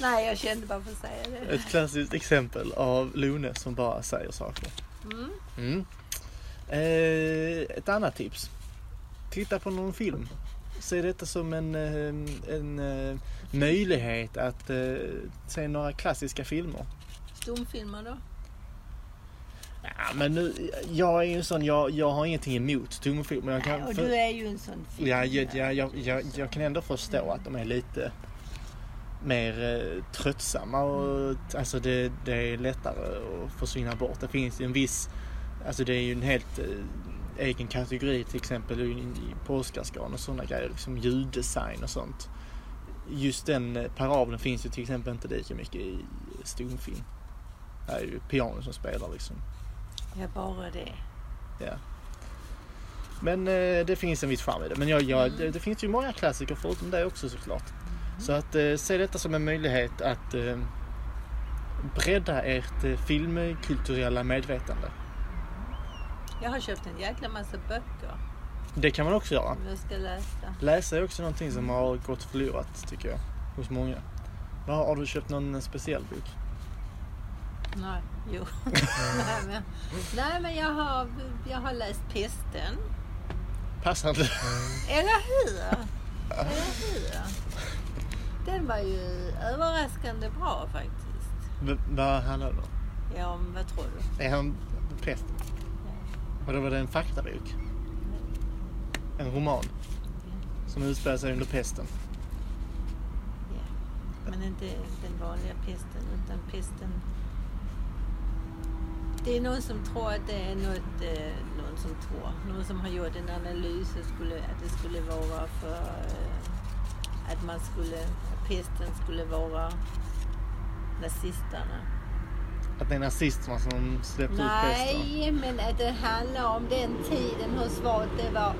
Nej, jag kände bara för att säga det. Ett klassiskt exempel av Lone som bara säger saker. Mm. Mm. Eh, ett annat tips. Titta på någon film. Se detta som en, eh, en eh, möjlighet att eh, se några klassiska filmer. Stumfilmer då? Ja, men nu, jag är ju en sån, jag, jag har ingenting emot stumfilm. Men jag kan, Och för- du är ju en sån film. Ja, jag, jag, jag, jag, jag kan ändå förstå att de är lite mer eh, tröttsamma och alltså det, det är lättare att försvinna bort. Det finns ju en viss, alltså det är ju en helt eh, egen kategori till exempel i, i, på Oscarsgalan och sådana grejer, liksom ljuddesign och sånt. Just den eh, parabeln finns ju till exempel inte lika mycket i stumfilm. Det är ju piano som spelar liksom. Ja, bara det. Men eh, det finns en viss charm i det. Men jag, jag, det, det finns ju många klassiker förutom det också såklart. Så att eh, se detta som en möjlighet att eh, bredda ert eh, filmkulturella medvetande. Jag har köpt en jäkla massa böcker Det kan man också göra. som jag ska läsa. Läsa är också någonting som har gått förlorat tycker jag. Hos många. Vad Har har du köpt någon speciell bok? Nej, jo. nej, men, nej, men jag har, jag har läst Pesten. Passande. Eller hur? Eller hur? Den var ju överraskande bra faktiskt. V- Vad handlar det om? Ja, men vad tror du? Är han präst? Och då var det en faktabok? En roman? Som utspelar sig under pesten? Men inte den vanliga pesten, utan pesten... Det är någon som tror att det är något, eh, någon som tror, någon som har gjort en analys och skulle, att det skulle vara för eh, att man skulle, att pesten skulle vara nazisterna. Att det är nazisterna som släppte ut pesten? Nej, men att det handlar om den tiden, hur svårt det var.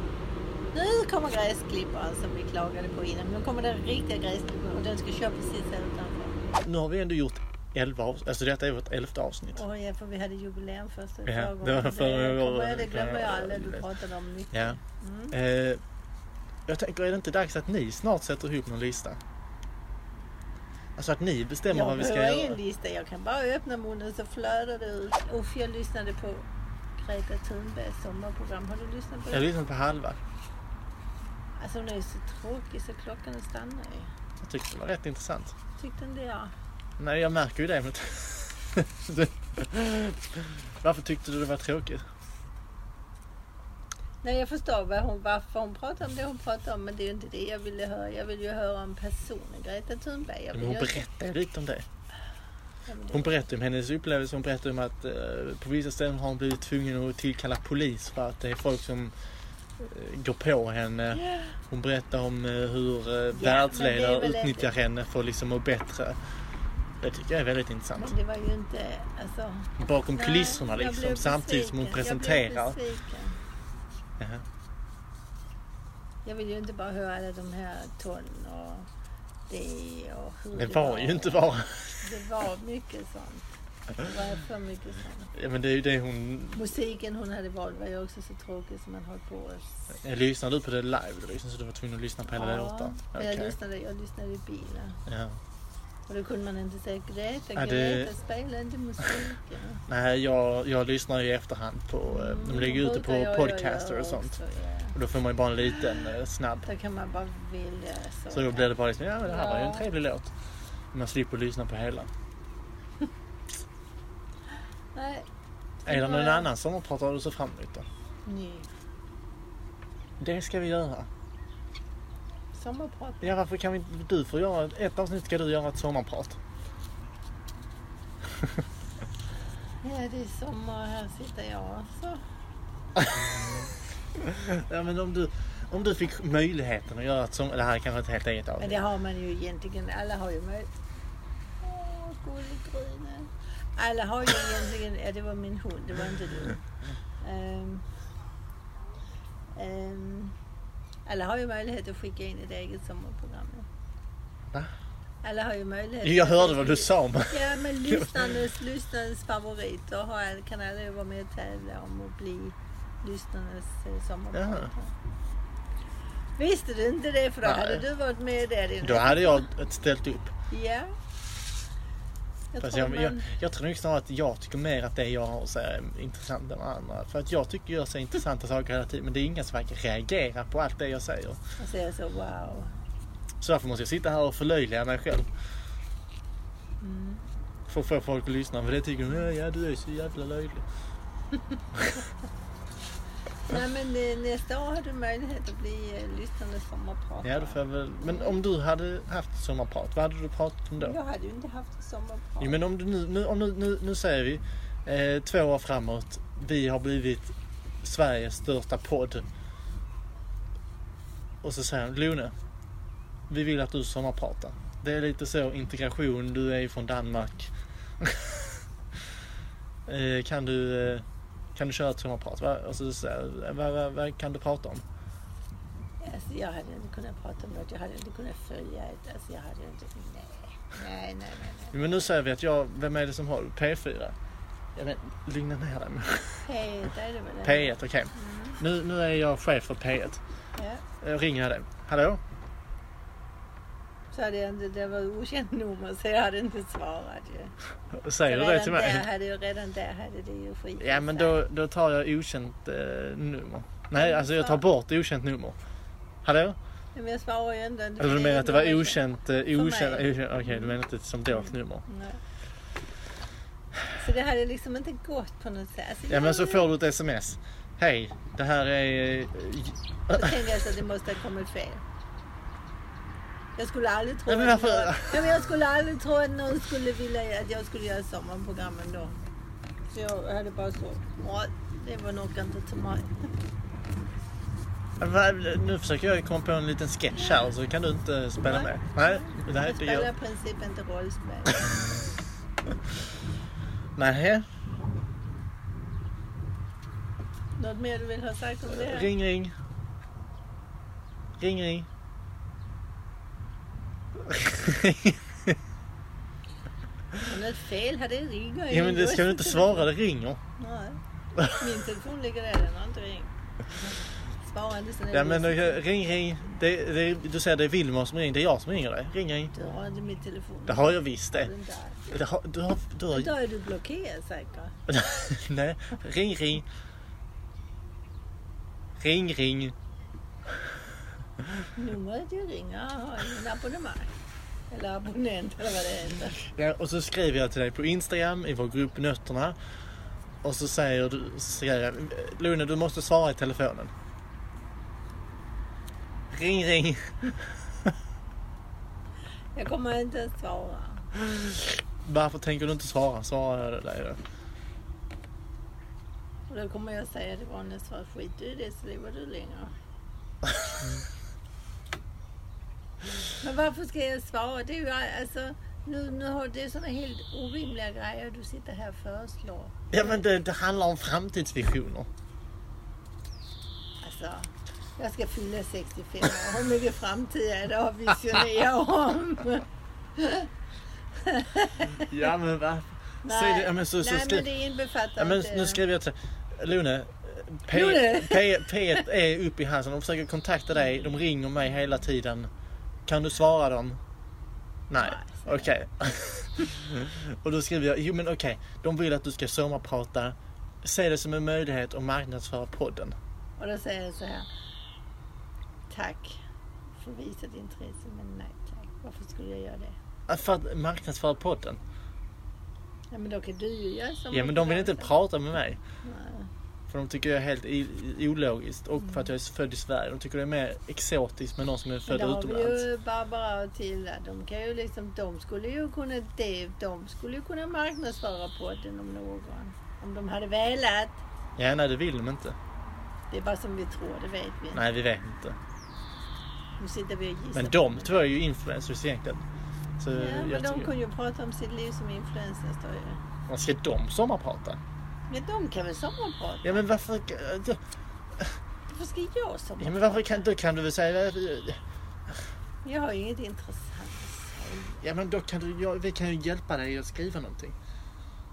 Nu kommer gräsklipparen som vi klagade på innan. Nu kommer den riktiga gräsklipparen och den ska köra precis här utanför. Nu har vi ändå gjort 11 avsnitt. Alltså detta är vårt elfte avsnitt. Och ja, för vi hade jubileum först Ja, förra det var gången. förra gången. kommer jag- Det glömmer jag aldrig. Ja. Du pratade om mycket. Ja. Mm. Eh, jag tänker, är det inte dags att ni snart sätter ihop någon lista? Alltså att ni bestämmer vad Jag vi ska behöver ingen göra. lista. Jag kan bara öppna munnen så flödar det ut. Uff, jag lyssnade på Greta Thunbergs sommarprogram. Har du lyssnat på Jag det? lyssnar på halva. Alltså hon är ju så tråkig så klockan stannar ju. Jag tyckte det var rätt intressant. Tyckte inte jag. Nej, jag märker ju det. Men... Varför tyckte du det var tråkigt? Nej, jag förstår vad hon, varför hon pratar om det hon pratar om, men det är ju inte det jag ville höra. Jag vill ju höra om personen Greta Thunberg. Jag Men vill hon ju- berättade ju lite om det. Ja, men det- Hon berättade om hennes upplevelse. Hon berättade om att eh, på vissa ställen har hon blivit tvungen att tillkalla polis för att det är folk som eh, går på henne. Hon berättar om eh, hur eh, det är världsledare väl ett- utnyttjar henne för att liksom må bättre. Det tycker jag är väldigt Men intressant. det var ju inte... Alltså, Bakom nej, kulisserna jag blev liksom, samtidigt som hon besviken. presenterar. Jag, blev besviken. Jaha. jag vill ju inte bara höra alla de här ton och det och hur Det var ju inte bara... Det var mycket sånt. Det var för mycket sånt. Ja, men det är ju det hon... Musiken hon hade valt var ju också så tråkig som man höll på och Lyssnade Eh, du på det live? Du lyssnade, så du var tvungen att lyssna på hela låten? men jag, Okej. lyssnade, jag lyssnade i bilen. Ja. Och då kunde man inte säga Greta, Ja, Greta det- spela inte musiken. Nej, jag, jag lyssnar ju i efterhand på... eh, Mm. De lägger ut det brukar jag på göra podcaster och sånt. också, ja. Och då får man ju bara en liten eh, snabb. Då kan man bara vilja. Så, Så då blir det bara liksom, ja men det här var ju en Ja. trevlig låt. Man slipper lyssna på hela. Nej, Är det någon Ja. annan sommarprat du ser fram emot då? ny. Det ska vi göra. Sommarprat. Ja varför kan vi inte- Du får göra ett avsnitt ska du göra ett sommarprat. Ja, det är sommar och här sitter jag. Så. Ja, men om du, om du fick möjligheten att göra ett som, Det här är kanske ett helt eget Men avsnitt. det har man ju egentligen. Alla har ju möjlighet. Åh, gullegrynen. Alla har ju egentligen... Ja, det var min hund. Det var inte du. Ehm, ehm, alla har ju möjlighet att skicka in ett eget sommarprogram. ja. Va? Alla har ju möjlighet. Jag hörde vad du sa men... Ja, men lyssnarnas, lyssnarnas favoriter har, all- kan alla ju vara med och tävla om att bli lyssnarnas eh, sommarprater. Visste du inte det? För då Nej. hade du varit med där inne. Då hade jag ställt upp. Ja. Jag Fast tror jag, man... jag, jag tror nog snarare att jag tycker mer att det jag har att säga är mm, intressant än vad andra. För att jag tycker jag säger intressanta saker hela tiden men det är ingen som verkar reagera på allt det jag säger. man säger så wow. Så därför måste jag sitta här och förlöjliga mig själv. Mm. För att få folk att lyssna. För det tycker de, "Ja, ja du är så jävla löjlig. Nej, men eh, nästa år har du möjlighet att bli eh, lyssnarnas sommarpratare. Ja, då får jag väl... Men om du hade haft sommarprat, vad hade du pratat om då? Jag hade ju inte haft ett sommarprat. Jo, men om du nu, nu, om nu, nu, nu säger vi eh, två år framåt. Vi har blivit Sveriges största podd. Och så säger han, Lone, vi vill att du sommarpratar. Det är lite så integration, du är ju från Danmark. eh, kan, du, eh, kan du köra ett sommarprat? Va? Och så säger jag, vad vad- vad kan du prata om? Alltså, jag hade inte kunnat prata om något. Jag hade inte kunnat följa ett. Alltså, jag hade inte... Nej, nej, nej. nej, nej. Jo, Men nu säger vi att jag, vem är det som har P4? Ja, men lugna ner dig. P1 är det väl? eller? P1, okej. Nu, nu är jag chef för P1. Ja. Jag ringer Eh, dig. Hallå? Så hade jag inte, det var okänt nummer så jag hade inte svarat ju. Säger du Så det till redan Där mig? hade ju, redan där hade det ju skit Ja men då, då tar jag okänt eh, nummer. Mm, Nej alltså jag tar bort okänt nummer. Hallå? Men jag svarar ju ändå inte. Eller Alltså, du för menar är att det var nummer- okänt? Eh, okänt, mig. okänt Okej du menar inte som dolt nummer? Nej. Så det hade liksom inte gått på något sätt. Alltså, Ja men så jag- får du ett sms. Hej, det här är... eh, Då tänkte jag så att det måste ha kommit fel. Jag skulle aldrig tro Ja, men att varför- någon, ja, men jag skulle aldrig tro att någon skulle vilja att jag skulle göra sommarprogrammen då. Så jag hade bara så, "Åh, det var nog inte till mig. Va- Nu försöker jag komma på en liten sketch här så kan du inte spela med. Nej, det här är Det inte jag. spelar i princip inte rollspel. Nej, Något mer du vill ha sagt om det? här? ring ring. Ring ring. Om det är fel här, det ringer Ja men det ska du inte svara, det ringer. Nej. Min telefon ligger där, den har inte ringt. Svara inte sen är Ja det men lustigt. eh, ring ring. Det, det, du säger det är Wilmer som ringer, det är jag som ringer dig. Ring ring. Du har inte min telefon. Det har jag visst det. Den där. det har, du har, du Men Då har, är du blockerad säkert. nej, ring ring. Ring ring. Numret du ringer har ingen abonnemang. Eller abonnent eller vad det heter. Ja, och så skriver jag till dig på Instagram i vår grupp Nötterna. Och så säger du, så säger jag, Lune du måste svara i telefonen. Ring ring. Jag kommer inte att svara. Varför tänker du inte svara? Svarar jag dig då. Och då kommer jag säga det var nästan svar. Skit du i det så lever du längre. Men varför ska jag svara? Det är ju alltså, nu, nu har det är sådana helt orimliga grejer du sitter här och föreslår. Ja men det, det handlar om framtidsvisioner. Alltså, jag ska fylla 65 år. Hur mycket framtid är det att visionera om? Ja men va? Säg det, ja, men så, så, nej skriv- men det inbefattar Ja, men inte... nu skriver jag till Lune. P, Lune! P, P1 är uppe i halsen. De försöker kontakta dig. De ringer mig hela tiden. Kan du svara dem? Nej. Nej, Okej. och då skriver jag. Jo men okej. De vill att du ska sommarprata. Se det som en möjlighet att marknadsföra podden. Och då säger jag så här. Tack för visat intresse men nej tack. Varför skulle jag göra det? Äh, För att marknadsföra podden? Ja men då kan du ju göra som Ja men de vill inte prata med mig. För de tycker jag är helt i- ologiskt och för att jag är född i Sverige. De tycker det är mer exotiskt med någon som är Men född det har vi utomlands. ju Barbara och Tilda. De, kan ju liksom, de skulle ju kunna det, de skulle ju kunna marknadsföra podden om någon. Om de hade velat. Ja, nej det vill de inte. Det är bara som vi tror, det vet vi. Nej, vi vet inte. Nu sitter vi och gissar. Men de två är ju influencers egentligen. Så Ja, men jag de tycker, kunde ju prata om sitt liv som influencer, står ju. vad ska de sommarprata? Men de kan väl sommarprata? Ja men varför... Varför ska jag Ja men sommarprata? varför kan, då kan du väl säga... Jag har ju inget intressant. Ja men då kan du, ja, vi kan ju hjälpa dig att skriva någonting.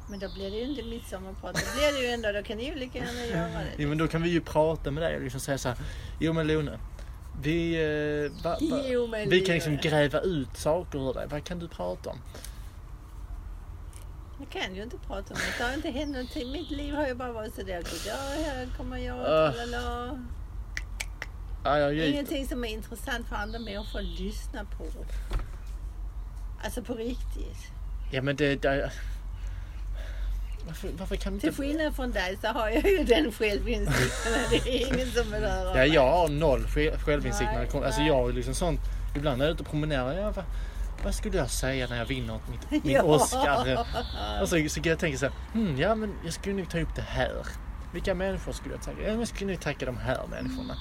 Men då blir det ju inte mitt sommarprat. Då blir det ju ändå, då kan ni ju lika gärna göra det. Ja men då kan vi ju prata med dig och liksom säga så här. Jo men Lone. Vi, eh, va, va, Jo, men vi det kan liksom gör jag. gräva ut saker ur dig. Vad kan du prata om? Jag kan ju inte prata om det. Det har inte hänt någonting. Mitt liv har ju bara varit sådär. Ja, här kommer jag. Ah. Lala. Ja, jag gick. Ingenting som är intressant för andra människor att lyssna på. Alltså på riktigt. Ja men det... det varför, varför kan vi Till inte... skillnad från dig så har jag ju den självinsikten att det är ingen som vill höra Ja, mig. jag har noll sj- självinsikt när det Nej, kommer. Alltså nej. jag är liksom sånt. Ibland när jag är ute och promenerar. Ja, vad, vad skulle jag säga när jag vinner mitt, min Ja. Oscar? Och så, så kan jag tänka så här. Hmm, ja men jag skulle nog ta upp det här. Vilka människor skulle jag tacka? Ja, men jag skulle nog tacka de här människorna.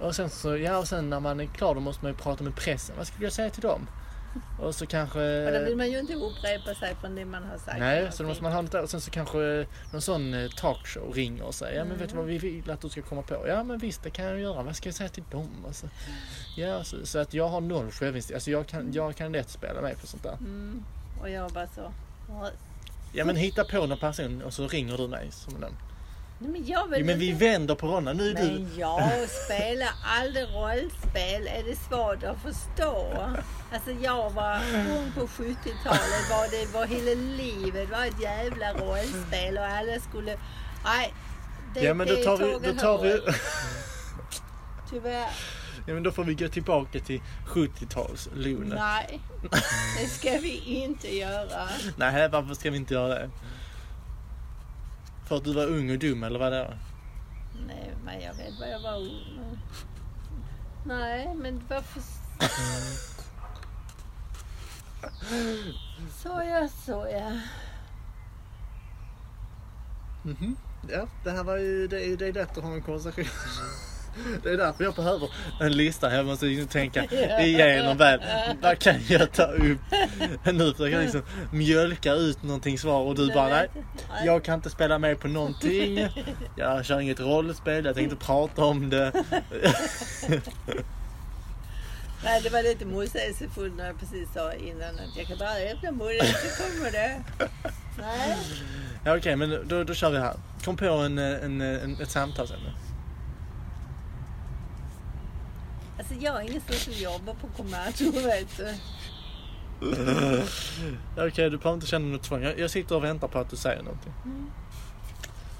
Och sen så, ja och sen när man är klar då måste man ju prata med pressen. Vad skulle jag säga till dem? Och så kanske... Och då vill man ju inte upprepa sig från det man har sagt. Nej, så då måste man ha lite, och sen så kanske någon sån eh, talkshow ringer och säger, ja men vet du vad vi vill att du ska komma på? Ja men visst, det kan jag göra. Vad ska jag säga till dem? Alltså, ja, så, så att jag har noll självinsikt. Alltså jag kan, jag kan lätt spela mig på sånt där. Mm. Och jag bara så. "Ja, Ja men hitta på någon person och så ringer du mig som den. Nej, men jag vill Jo, men vi inte. vänder på rollen. Nu är du... Men jag spelar aldrig rollspel. Är det svårt att förstå? Alltså jag var ung på 70-talet. Var det var hela livet var ett jävla rollspel och alla skulle... Nej. Det, Ja men då det tar vi... Då tåget tar har vi gått. Tyvärr. ja, men då får vi gå tillbaka till 70-tals Lone. Nej. Det ska vi inte göra. Nej, varför ska vi inte göra det? För att du var ung och dum eller vad det är? Nej, men jag vet vad jag var ung. Nej, men varför... Såja, såja. Mhm. Ja, det här var ju, det, är- det är lätt att ha en konversation. Det är därför jag behöver en lista. Jag måste liksom tänka igenom väl. Vad kan jag ta upp? Nu försöker jag liksom mjölka ut någonting svar och du bara nej. Jag kan inte spela med på någonting. Jag kör inget rollspel. Jag tänkte prata om det. Nej, det var lite motsägelsefullt när jag precis sa innan att jag kan bara öppna munnen så kommer det. Nej. Ja, Okej, men då, då kör vi här. Kom på en, en, en, ett samtalsämne. Alltså jag är ingen sån som jobbar på kommando vet du. Okej, du behöver inte känna något tvång. Jag, jag sitter och väntar på att du säger någonting.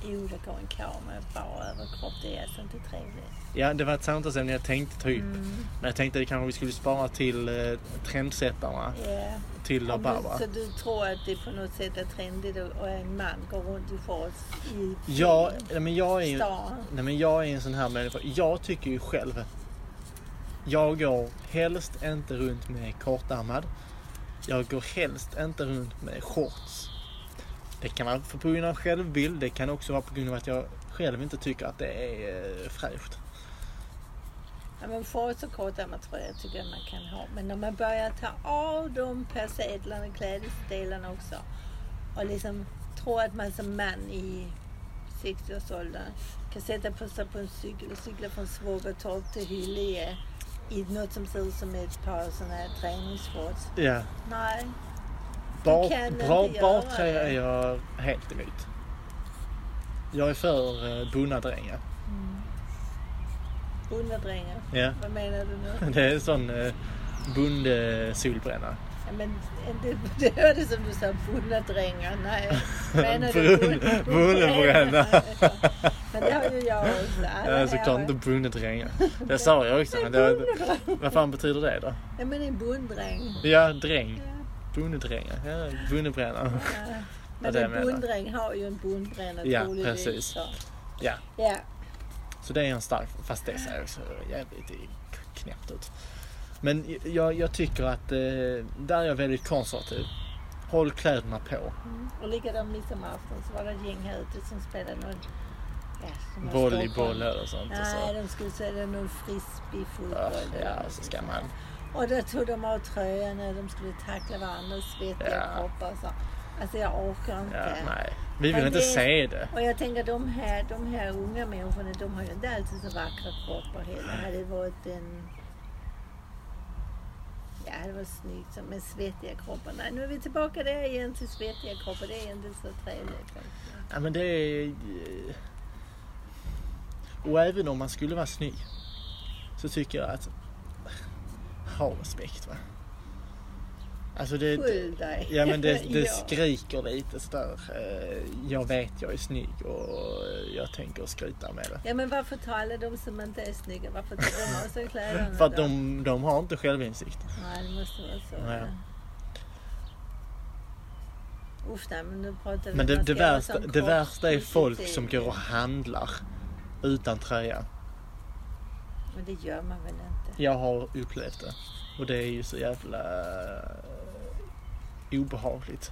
Jo, det går en karl med bara överkropp. Det är alltså inte trevligt. Ja, det var ett samtalsämne jag tänkte ta upp. Mm. Men jag tänkte att kanske vi skulle spara till eh, trendsättarna, Ja. till Om Barbara. du, så du tror att det på något sätt är trendigt att och en man går runt i shorts i Ja, nej, men jag är ju... stan? Nej, men jag är en sån här människa. Jag tycker ju själv. Jag går helst inte runt med kortärmad. Jag går helst inte runt med shorts. Det kan vara på grund av självbild. Det kan också vara på grund av att jag själv inte tycker att det är eh, fräscht. Ja, men shorts och kortärmad tröja tycker jag man kan ha. Men när man börjar ta av de persedlarna, klädesdelarna också och liksom tror att man som man i 60-årsåldern kan sätta på sig på en cykel och cykla från Svågertorp till Hyllie i något som ser ut som ett par sådana här träningsshorts. Ja. Nej, Bar, kan inte bra göra bartröja det. är jag helt emot. Jag är för eh, bonadrängar. bondedrängar. Ja. Vad menar du nu? Det är en sån eh, bondesolbränna. Ja, Men eh, det, det hörde som du sa, bondedrängar. Nej, menar du Brun- bonde- bondebränna. Men det har ju jag också. Alla Ja, såklart här- inte bondeträngar. Det sa jag också. Men det, var- vad fan betyder det då? Ja men en bonddräng. Ja, dräng. Bondeträngar. Ja, bondebränna. Men det en menar jag. bonddräng har ju en bondbränna Ja, troligtvis. precis. så. Ja, Så det är en stark, fast det ser också jävligt knäppt ut. Men jag, jag tycker att eh, där är jag väldigt konservativ. Håll kläderna på. Mm. och likadant midsommarafton så var det ett gäng här ute som spelade någon... Ja, som var Volleyboll Stockholm. eller sånt. Och Nej, så. Ah, de skulle säga någon Ja, frisbeefotboll. ja, så ska man. Och då tog de av tröjorna, de skulle tackla varandra, svettiga Ja. kroppar och så. Alltså jag orkar inte. Ja, nej. Vi vill Men inte det- se det. Och jag tänker de här, de här unga människorna, de har ju inte alltid så vackra kroppar heller. Hade det varit en... Ja, det var snyggt som med svettiga kroppar. Nej, nu är vi tillbaka där igen till svettiga kroppar. Det är inte så trevligt. faktiskt. Ja, men det är... eh, Och även om man skulle vara snygg så tycker jag att... Ha respekt va. Alltså det... Skyll dig. Ja men det, det Ja. skriker lite sådär. eh, Jag vet jag är snygg och eh, jag tänker skryta med det. Ja, men varför tar alla de som inte är snygga, varför tar de av sig kläderna För att då? de, de har inte självinsikt. Nej, det måste vara så. Ja. ja. Uff, nej, men nu pratar vi Men det, man det, ska göra värsta, som det kropp- värsta är folk positiv. som går och handlar utan tröja. Men det gör man väl inte? Jag har upplevt det. Och det är ju så jävla eh, obehagligt.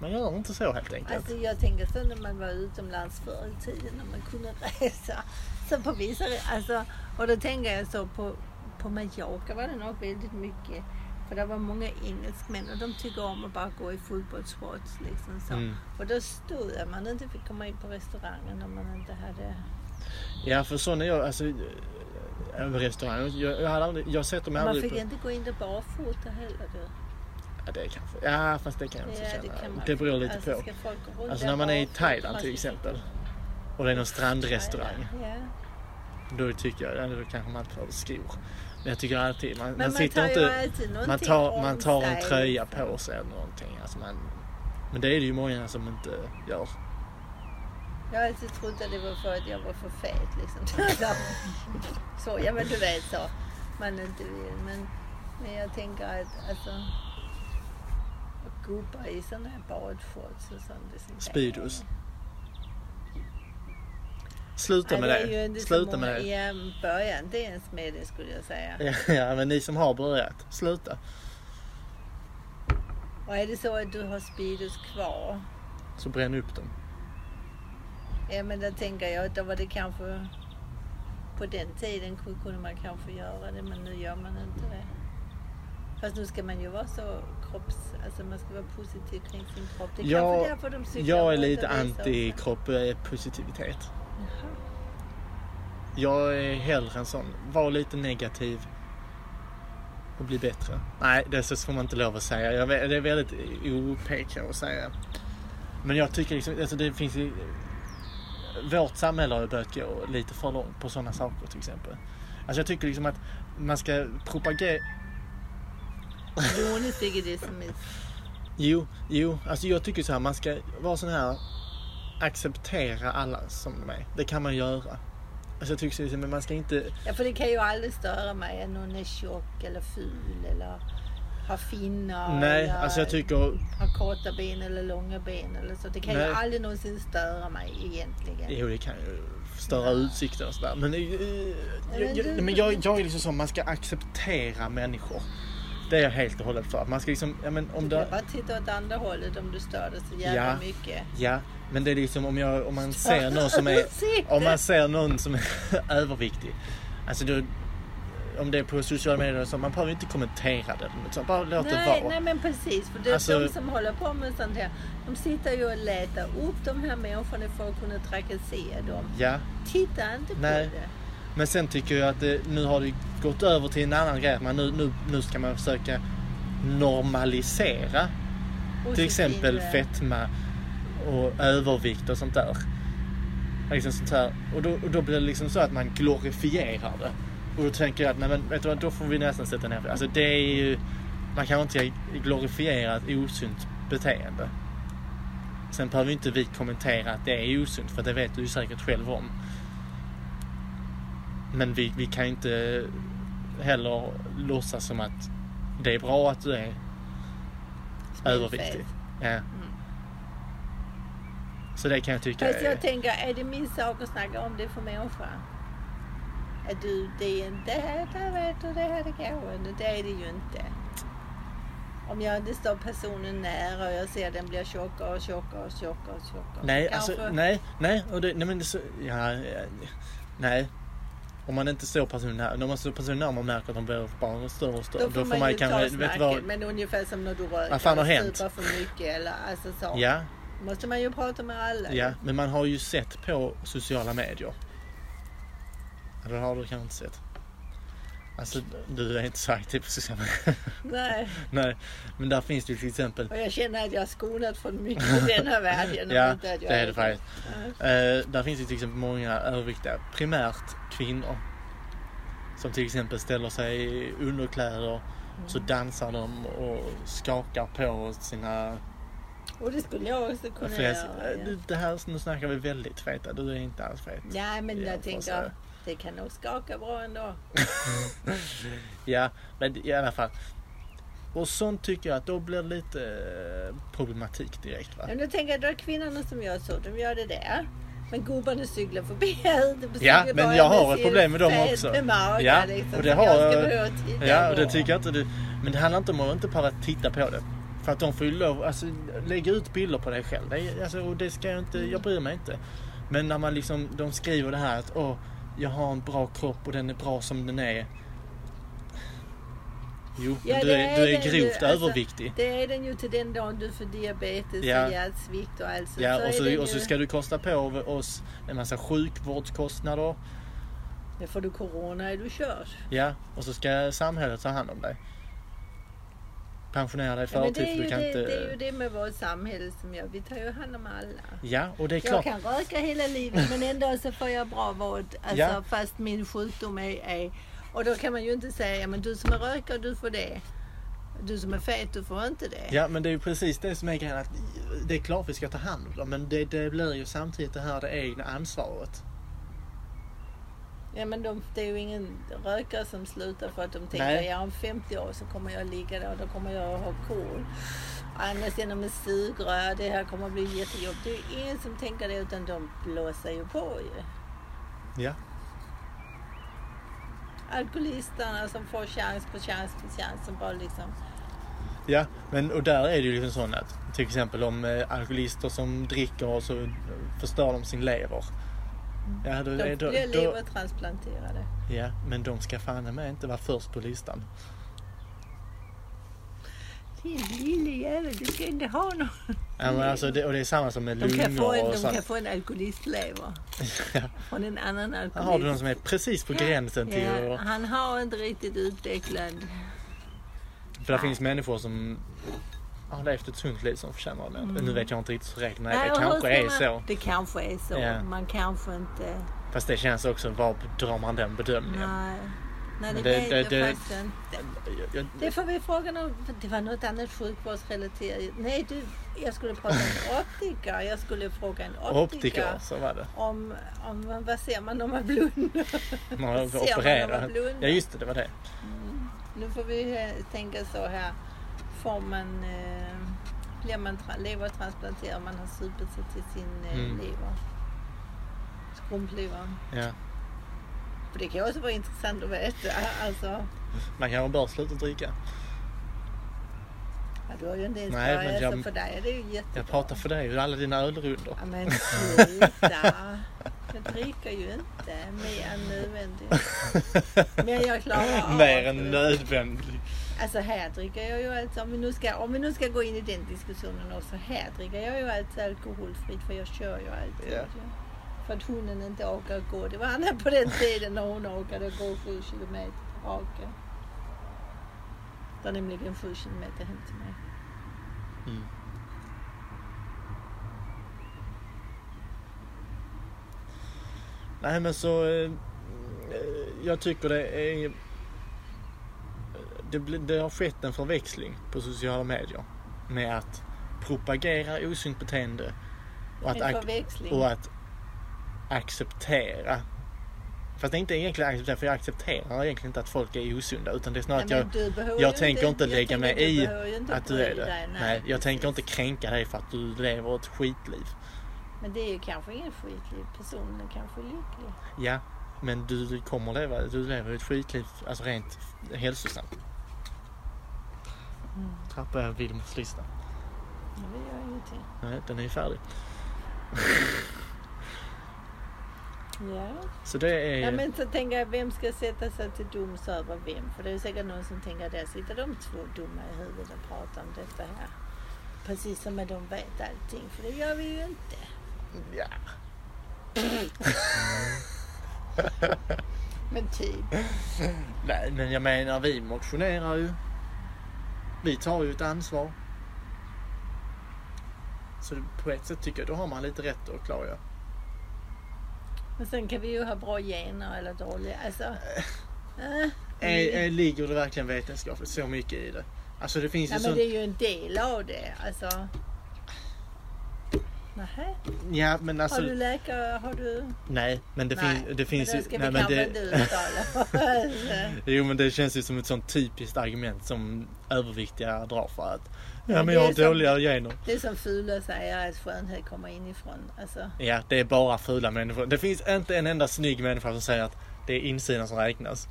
Man gör inte så helt enkelt. Alltså jag tänker så när man var utomlands förr i tiden när man kunde resa. Så på vissa, alltså, och då tänker jag så på, på Mallorca var det nog väldigt mycket. För det var många engelsmän och de tycker om att bara gå i fotbollsshorts liksom så. Mm. Och då stod jag, man inte fick komma in på restaurangen om man inte hade... Ja för sådana jag, alltså eh, över restaurangen. Jag, jag, hade aldrig, jag sätter mig Man aldrig fick på... inte gå in där barfota heller du. Ja, det kanske, ja fast det kan jag också Ja, det känna. kan man. det beror lite alltså, på. Ska folk gå runt Alltså där när man är i barfota, Thailand man till ska- exempel. Och det är någon strandrestaurang. Ja, ja. Då tycker jag, eller då kanske man tar skor. Men jag tycker alltid, man, man, Men man, sitter tar ju inte... alltid någonting Man tar, om man tar en sig. tröja på sig eller någonting. Alltså man, men det är det ju många som inte gör. Jag har alltid trott att det var för att jag var för fet liksom. Så, så ja men du vet så. Man inte vill. Men, men jag tänker att alltså. att Gubbar i sådana här badshorts och sånt. det är sånt där. Speedos. Sluta Nej, med det är ju det. inte så Sluta många med det. I um, början, inte ens med det skulle jag säga. Ja, Ja, men ni som har börjat, sluta. Och är det så att du har Speedos kvar. Så bränn upp dem. Ja men då tänker jag att då var det kanske. På den tiden ku- kunde man kanske göra det men nu gör man inte det. Fast nu ska man ju vara så kropps... Alltså man ska vara positiv kring sin kropp. Det är Jag- kanske därför de cyklar Jag är runt och lite visar anti upp kroppspositivitet. det. Jaha. Jag är hellre en sån. Var lite negativ och bli bättre. Nej, det så får man inte lov att säga. Jag vet, det är väldigt OPK att säga. Men jag tycker liksom, alltså det finns ju... Vårt samhälle har ju börjat gå lite för långt på sådana saker till exempel. Alltså jag tycker liksom att man ska propagera... Jonas tycker det är som ett... Jo, jo, alltså jag tycker så här, man ska vara sån här... Acceptera alla som de är. Det kan man göra. Alltså jag tycker så, men man ska inte... Ja för det kan ju aldrig störa mig att någon är tjock eller ful eller har finnar. Nej, eller alltså jag tycker Har korta ben eller långa ben eller så. Det kan Nej. ju aldrig någonsin störa mig egentligen. Jo, det kan ju störa utsikten och sådär. Men, eh, jag, jag, du- men jag, jag är liksom så, man ska acceptera människor. Det är jag helt och hållet för. Man ska liksom, ja men om du kan det, bara titta åt andra hållet om du stör dig så jävla Ja. mycket. ja, men det är liksom om, jag, om man ser någon som är, om man ser någon som är överviktig. Alltså då, om det är på sociala medier och så, man behöver inte kommentera det. eller något sånt. Bara låt det Nej, vara. nej men precis. För det är Alltså- de som håller på med sånt här. De sitter ju och letar upp de här människorna för att kunna trakassera dem. Ja, Titta inte Nej. på det. men sen tycker jag att det, nu har det gått över till en annan grej. att Man, nu, nu, nu ska man försöka normalisera Till Positiv, exempel eh, fetma och övervikt och sånt där. Liksom sånt här. Och, då, och då blir det liksom så att man glorifierar det. Och då tänker jag att nej, men, vet du vad, då får vi nästan sätta ner Alltså det är ju... Man kan inte glorifiera ett osunt beteende. Sen behöver inte vi kommentera att det är osunt för det vet du ju säkert själv om. Men vi, vi kan inte heller låtsas som att det är bra att du är småfet. Mm. överviktig. Ja. Så det kan jag tycka Fast är... Alltså, jag tänker, är det min sak att snacka om det för människa? Är du, det är inte här, där vet du, det här är gående. Det är det ju inte. Om jag inte står personen nära och jag ser den blir tjockare och tjockare och tjockare och tjockare. Nej, Kanske- alltså, nej, nej, och det, nej men det, är så- ja, ja, nej. Om man inte står personen nära, när man står personen nära och man märker att de blir bara större och större. Då får man, ju ta kanske, vet snacket, du vad? men ungefär som när du röker Vad fan har och hänt? super för mycket eller alltså så. Ja, Måste man ju prata med alla. ja, men man har ju sett på sociala medier. Eller har du kanske inte sett? Alltså, du är inte så aktiv på sociala medier. Nej. Nej, men där finns det ju till exempel Och jag känner att jag har skonat från mycket i den här världen. och Ja, inte att jag det är det faktiskt. Eh, där finns ju till exempel många överviktiga, primärt kvinnor. Som till exempel ställer sig i underkläder, så dansar de och skakar på sina Och det skulle jag också kunna fläs. göra. Eh, Ja. det- Det här, nu snackar vi väldigt feta, du är inte alls fet. Nej, men Ja, jag fast, eh, tänker det kan nog skaka bra ändå. Ja, men i alla fall. Och sånt tycker jag att då blir det lite eh, problematik direkt va? Men då tänker jag, då är kvinnorna som gör så, de gör det där. Men gubbarna cyklar förbi allt. De Ja, cyklar men bara jag har med ett sin problem med dem fet också. med Mage, Ja, liksom, och och det det har- Jag ska behöva titta Ja, och det på. tycker jag inte du... Men det handlar inte om att inte bara titta på det. För att de får ju lov, alltså lägga ut bilder på dig själv. Det, är- alltså, och det ska jag inte, jag bryr mig inte. Men när man liksom, de skriver det här att åh, jag har en bra kropp och den är bra som den är. Jo, Ja, men du det är, du är den ju. grovt Alltså, överviktig. Det är den ju till den dagen du får diabetes Ja. och hjärtsvikt och allt sånt. Ja, och är den så, ju- och så ska du kosta på oss en massa sjukvårdskostnader. Ja, får du corona är du körd. Ja, och så ska samhället ta hand om dig. Pensionera dig i Ja, men förtid det, är för ju du kan det, inte... det är ju det med vårt samhälle som gör. Vi tar ju hand om alla. Ja, och det är Jag klart. kan röka hela livet men ändå så får jag bra vård. Alltså, Ja. Fast min sjukdom är, är... Och då kan man ju inte säga, ja men du som är rökare du får det. Du som är fet du får inte det. Ja, men det är ju precis det som är grejen. Att det är klart vi ska ta hand om dem, men det, det blir ju samtidigt det här det egna ansvaret. Ja men de, det är ju ingen rökare som slutar för att de tänker Nej. ja om 50 år så kommer jag ligga där och då kommer jag ha KOL. Annars genom en sugrör, det här kommer bli jättejobbigt. Det är ju ingen som tänker det utan de blåser ju på ju. Ja. Alkoholisterna som får chans på chans på chans som bara liksom Ja, men och där är det ju liksom sånt att till exempel om eh, alkoholister som dricker och så förstör de sin lever. Ja, då, de är- då, blir då, levertransplanterade. ja, men de ska fan med inte vara först på listan. Din lille jävel, du ska inte ha någon. Ja, men alltså, det, och det är samma som med Mm. De kan få lungor en, och de kan sånt. få en alkoholistlever Ja, från en annan här har du alkoholist. någon som är precis på gränsen till Ja, att- han har inte riktigt utvecklat. För det finns människor som har levt ett sunt liv som förtjänar det. Nu vet jag inte riktigt hur reglerna är. Mm. Nej, Det och hur kanske är ska man- så. Det kanske är så. Ja. Man kanske inte... Fast det känns också, var drar man den bedömningen? Nej. Men Nej, det, det- vet det- jag det- faktiskt inte. Jag- jag- Det får vi fråga någon. för Det var något annat sjukvårdsrelaterat. Nej, du, jag skulle prata om en optiker. Jag skulle fråga en optiker. Optiker, så var det. Om, om vad ser man om man blundar? Man Ser man när opererar. man blundar? Ja just det, det var det. Nu får vi eh, tänka så här. Får man, eh, blir man tra- levertransplanterad om man har supit sig till sin eh, Mm. lever? Skrumplever. Ja. För det kan ju också vara intressant att veta. Alltså, Man kanske bör sluta dricka. ja, du har ju inte ens Nej, men börjat, jag- så för dig är det ju jättebra. Jag pratar för dig och alla dina ölrundor. Ja, men sluta. Jag dricker ju inte mer än nödvändigt. Men jag klarar av Mer än det. nödvändigt. Alltså här dricker jag ju alltså, om vi, nu ska, om vi nu ska gå in i den diskussionen också, här dricker jag ju alltid alkoholfritt för jag kör ju alltid. Ja. ju. För att hunden inte orkar gå. Det var annat på den tiden när hon orkade gå sju kilometer raka. Det är nämligen sju kilometer hem till mig. Mm. Nej men så... eh, eh, Jag tycker det är... Det, blir- det har skett en förväxling på sociala medier med att propagera osynt beteende och att, En ak- förväxling. och att acceptera. Fast det är inte egentligen acceptera, för jag accepterar egentligen inte att folk är osunda utan det är snarare Nej, att men jag, du behöver jag ju tänker inte jag lägga mig tänker i behöver ju inte att du bry är det. dig, Nej, jag tänker inte kränka dig för att du lever ett skitliv. Men det är ju kanske ingen skitliv. Personen kanske är lycklig. Ja, men du kommer leva, du lever ett skitliv, alltså rent hälsosamt. Mm. Tappar jag Wilmots lista. Men det gör ingenting. Nej, den är ju färdig. Ja. Så det är... ja, men så tänker jag, vem ska sätta sig till doms över vem? För det är ju säkert någon som tänker, där sitter de två dumma i huvudet och pratar om detta här. Precis som att de vet allting, för det gör vi ju inte. ja. Men typ. Nej, men jag menar vi motionerar ju. Vi tar ju ett ansvar. Så på ett sätt tycker jag då har man lite rätt att Mm. klaga. Men sen kan vi ju ha bra gener eller dåliga. Alltså, Eh. äh, Är, är, ligger det verkligen vetenskapligt så mycket i det? Alltså det finns ju nej, men sånt... det är ju en del av det. Alltså. Nähä, Ja, men alltså... har du läkare? Har du? Nej, men det, nej, fin... det finns men ju... det ska Nej, vi men kanske inte det... uttala. Jo, men det känns ju som ett sånt typiskt argument som överviktiga drar för att... Ja, Men men det jag är har som- dåliga gener. det är som Fula säger, att skönhet kommer inifrån. Alltså, Ja, det är bara fula människor. Det finns inte en enda snygg människa som säger att det är insidan som räknas.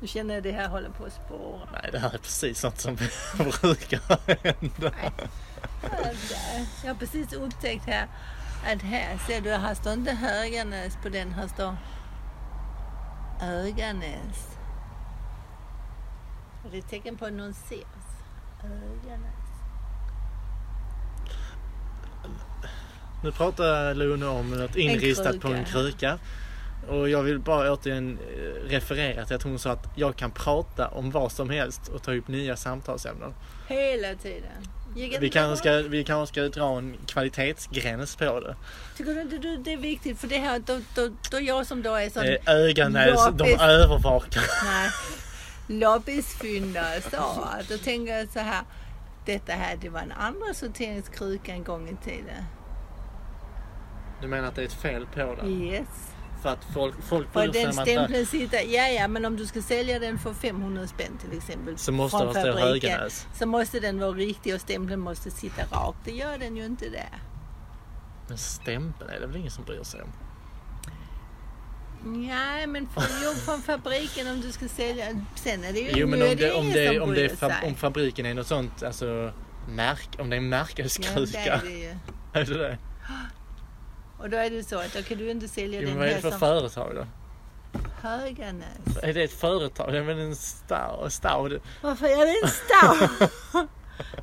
nu känner jag att det här håller på att spåra. Nej, det här är precis sånt som brukar hända. Alltså, jag har precis upptäckt här att här ser du, här står inte Höganäs på den, här står Öganäs. Och det är ett tecken på att någon ses. Öganäs. Nu pratar Lone om något inristat på en kruka. kruka. Och jag vill bara återigen eh, referera till att hon sa att jag kan prata om vad som helst och ta upp nya samtalsämnen. Hela tiden. Gick inte Vi bra? kanske ska, vi kanske ska dra en kvalitetsgräns på det. Tycker du inte du det är viktigt? För det här, då, då, då jag som då är sån Eh, Öganäs, de Loppis. övervakar. Nej. Loppisfyndare sa att då tänker jag så här. Detta här det var en andra sorteringskruka en gång i tiden. Du menar att det är ett fel på det? Yes. För att folk, folk För bryr sig den om att det- stämpeln sitter, ja ja men om du ska sälja den för 500 spänn till exempel. Så måste från den stå fabriken, Höganäs. Så måste den vara riktig och stämpeln måste sitta rakt. Det gör den ju inte där. Men stämpeln är det väl ingen som bryr sig om? Nej men från, jo, från fabriken om du ska sälja. Sen är det ju Jo men nu är om det, om ingen det, som om det är bryr fab- sig. om fabriken är något sånt, alltså märk, om det är en Ja, det är märkeskruka. det ju. Är det det? Och då är det så att då kan du inte sälja Jo, men den vad är det här för som företag då? Höganäs. Är det ett företag? Det är väl en stad? stad. Varför är det en stad?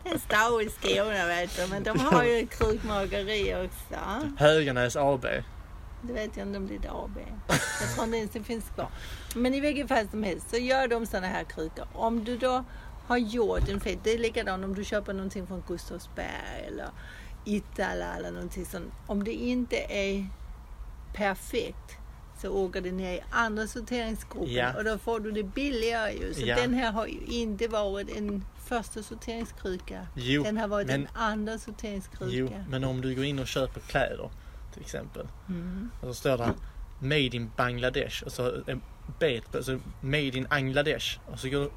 en stad i Skåne vet du, men de har ju krukmakeri också. Höganäs AB. Det vet jag inte om det är ett AB. Jag tror inte ens det finns kvar. Men i vilket fall som helst så gör de sådana här krukor. Om du då har gjort en fet, det är likadant om du köper någonting från Gustavsberg eller Itala eller någonting sånt. Om det inte är perfekt så åker det ner i andra sorteringsgruppen Ja. och då får du det billigare ju. Så Ja. den här har ju inte varit en första sorteringskruka. Jo, den har varit men- en andra sorteringskruka. Jo, men om du går in och köper kläder till exempel. Och så står det Made in Bangladesh och så en bet på, så Made in Angladesh. Och så går du...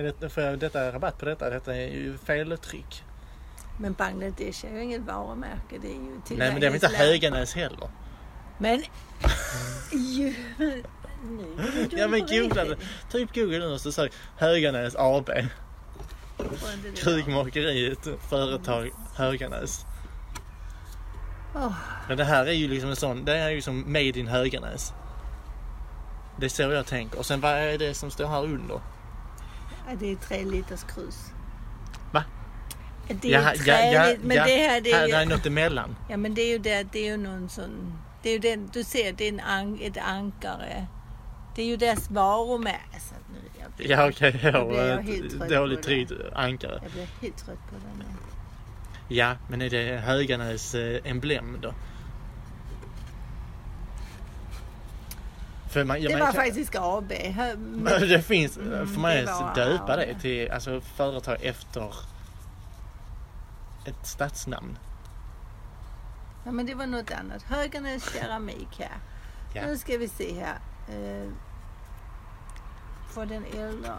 Är det, får jag detta rabatt på detta? Detta är ju feltryck. Men Bangladesh är ju inget varumärke. Det är ju Nej men det är väl inte tillverkningsland. Höganäs heller? Men... ju, men nu är du dum Ja men på googla det. riktigt. Typ googla nu och så sök Höganäs AB. Får inte det där. Krugmakeriet, företag Höganäs. Åh. Men det här är ju liksom en sån, det här är ju som made in Höganäs. Det är så jag tänker. Och sen vad är det som står här under? Ja, det är tre liters krus. Va? Det är ju träligt, men det här det här, det är är ju... något emellan. Ja men det är ju det, det är ju någon sån... Det är ju den, du ser, det är en an, ett ankare. Det är ju deras varumärke. Alltså, nu, jag, blir, Ja okej, Då blir jag ett helt trött på dåligt det. tryckt ankare. jag blir helt trött på den här. Ja, men är det Höganäs eh, emblem då? För man, ja, Det man var kan- faktiskt AB. Hö- Men Det finns, Mm, får man det ens var- döpa ja. det till alltså, företag efter ett stadsnamn? Ja, men det var något annat. Höganäs keramik här. Ja. Nu ska vi se här. Eh, för den äldre.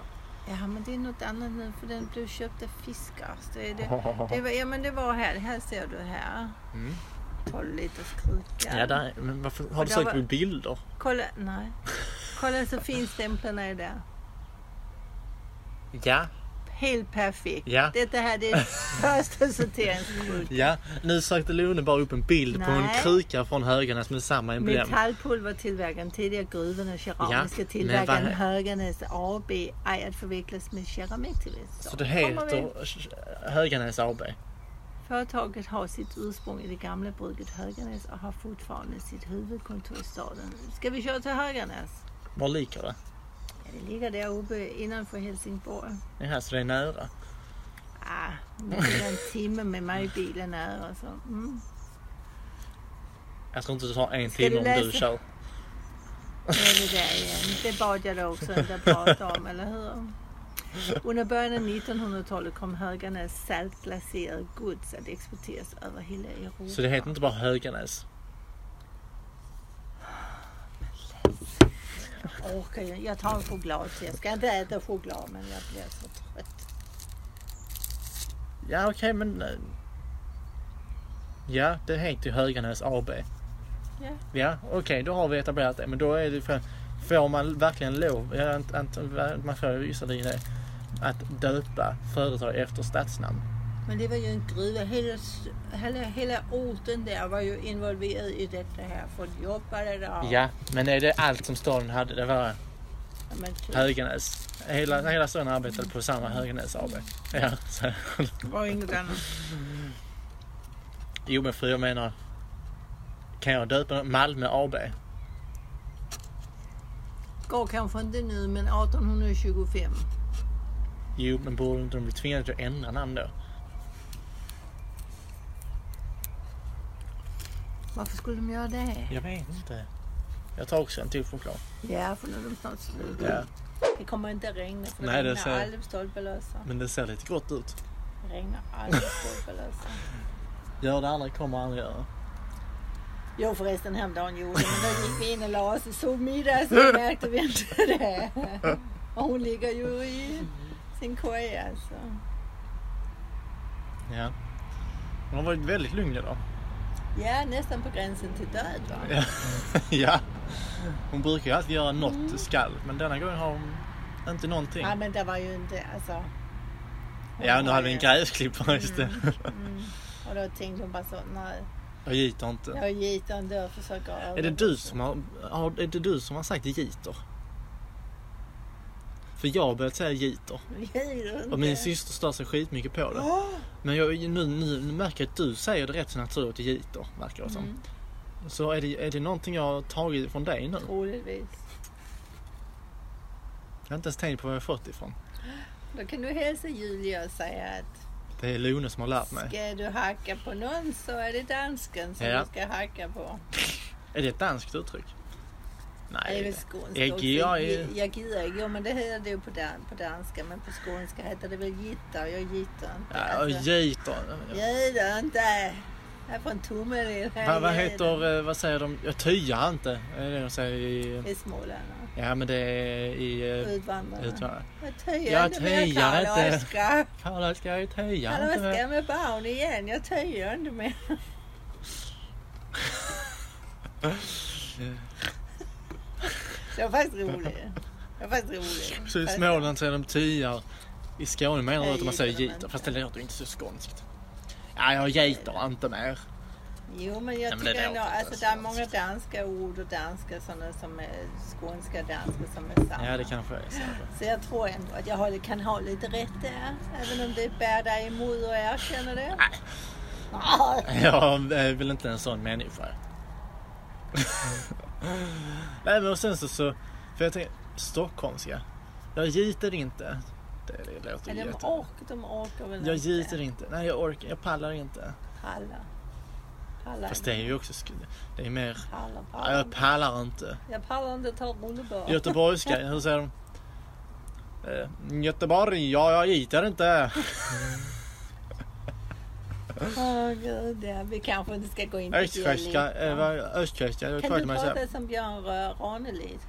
Ja, men det är något annat nu för den du köpte fiskars. Det, är det, det var, ja, men det var här. Här ser du här. Mm. 12 liters kruka. Ja, där, men varför har du där sökt var- på bilder? Kolla, nej. Kolla så fin stämplarna är där. Ja, Helt perfekt. Ja. Detta här det är första sorteringskrut. ja. Nu sökte Lone bara upp en bild på en Nej. kruka från Höganäs med samma emblem. Metallpulvertillverkaren, tidigare gruvan och keramiska men tillverkaren vad- Höganäs AB, ej att förväxlas med keramiktillverkaren. Så det Kommer vi- heter Höganäs AB. Företaget har sitt ursprung i det gamla bruket Höganäs och har fortfarande sitt huvudkontor i staden. Ska vi köra till Höganäs? Var ligger det? Ja, det ligger där uppe innanför Helsingborg. Ja, så det är nära. Ah, det är en timme med mig i bilen här och så. Mm. Jag tror inte det tar en Ska timme du om du läsa? kör. Nu är vi där igen. Det bad jag dig också inte prata om, eller hur? Under början av 1900-talet kom Höganäs saltglaserad gods att exporteras över hela Europa. Så det heter inte bara Höganäs. Jag orkar ju- Jag tar en choklad så jag ska inte äta choklad men jag blir så trött. Ja, okej, men... eh, Ja, det heter ju Höganäs AB. Ja. Ja, okej, då har vi etablerat det. Men då är det för, Får man verkligen lov, ja, ant, ant, man får ju visserligen det, att döpa företag efter stadsnamn? Men det var ju en gruva. Hela, s- hela, hela orten där var ju involverad i detta här. Folk jobbade där. Ja, men är det allt som staden hade? Det var Ja, Men typ, Höganäs. Hela, hela staden arbetade på samma Höganäs AB. Ja, så, det var inget annat. jo, men för jag menar, kan jag döpa något? Malmö AB? Går kanske inte nu men 1825. Jo, men borde inte de bli tvingade att ändra namn då? Varför skulle de göra det? Jag vet inte. Jag tar också en till choklad. Ja, för nu är de snart slut. Ja. Det kommer inte regna för Nej, det det regnar ser jag. aldrig på stolpelösa. Men det ser lite gott ut. Det regnar aldrig på stolpelösa. Gör det aldrig, kommer aldrig göra. Jo förresten häromdagen gjorde men då gick vi in och la oss och sov middag så märkte vi inte det. Och hon ligger ju i sin koja alltså. Ja. Hon har varit väldigt lugn idag. Ja nästan på gränsen till död va. Ja. ja. Hon brukar ju alltid göra något skall, men denna gången har hon inte någonting. Ja men det var ju inte alltså. hon Ja, nu var hade vi ju- Mm. en gräsklippare istället. Och då tänkte hon bara så nej. Jag giter inte. Jag gitar inte och försöker Är det du som har, har, är det du som har sagt giter? För jag har börjat säga giter. Och min syster stör sig skitmycket på det. Men jag, nu, nu, nu märker jag att du säger det rätt så naturligt, giter, verkar det som. Så är det, är det någonting jag har tagit från dig nu? Troligtvis. Jag har inte ens tänkt på var jag har fått ifrån. Då kan du hälsa Julia och säga att Det är Lone som har lärt mig. ska du hacka på någon så är det dansken som Ja. du ska hacka på. Är det ett danskt uttryck? Det är Nej. väl skånska Jag- också. jag är- Jag- Jag gider inte. Jo men det heter det ju på, dan- på danska men på skånska heter det väl gitta. Jag gitter inte. Alltså, Ja, och giter. gider inte. Jag är från Tomelilla. Vad, vad Jag gider. heter, eh, vad säger de? Jag tyar inte. Är det de säger i... Det är smålänningarna. Ja men det är i... eh, Utvandrarna. Utan, Jag töjer Jag inte mer töjer inte. Karl-Oskar. Karla ska jag töja inte Karl-Oskar med? med barn igen. Jag töjer inte mer. Det var faktiskt roligt. Det var faktiskt roligt. Så i Småland säger de tyar. I Skåne menar du att man säger Giter de giter. Fast det låter ju inte så skånskt. Ja jag giter inte mer. Jo, men Nej, jag men det låter tycker ändå, inte alltså så det är danskt. många danska ord och danska sådana som är skånska danska som är samma. Ja det kanske är så. Så jag tror ändå att jag håller, kan ha lite rätt där, även om det bär dig emot och erkänner det. Nej. Jag är väl inte en sån människa. Nej men och sen så, så för jag tänker, stockholmska. Jag giter inte. Det, det låter Men ju de, jätte... orkar, de orkar väl Jag inte. giter inte. Nej jag orkar, jag pallar inte. Pallar. Pallar. Fast det är ju också, sk- det är mer, Pallar, "Ja, jag pallar. pallar inte. Jag pallar inte ta rullebör. Göteborgska, hur säger de? Eh, Göteborg, ja jag giter inte. Åh gud, ja, vi kanske inte ska gå in på Östgötska, eh, dialekter. vad- östgötska, jag Kan tror att du man säger. prata som Björn Ranelid?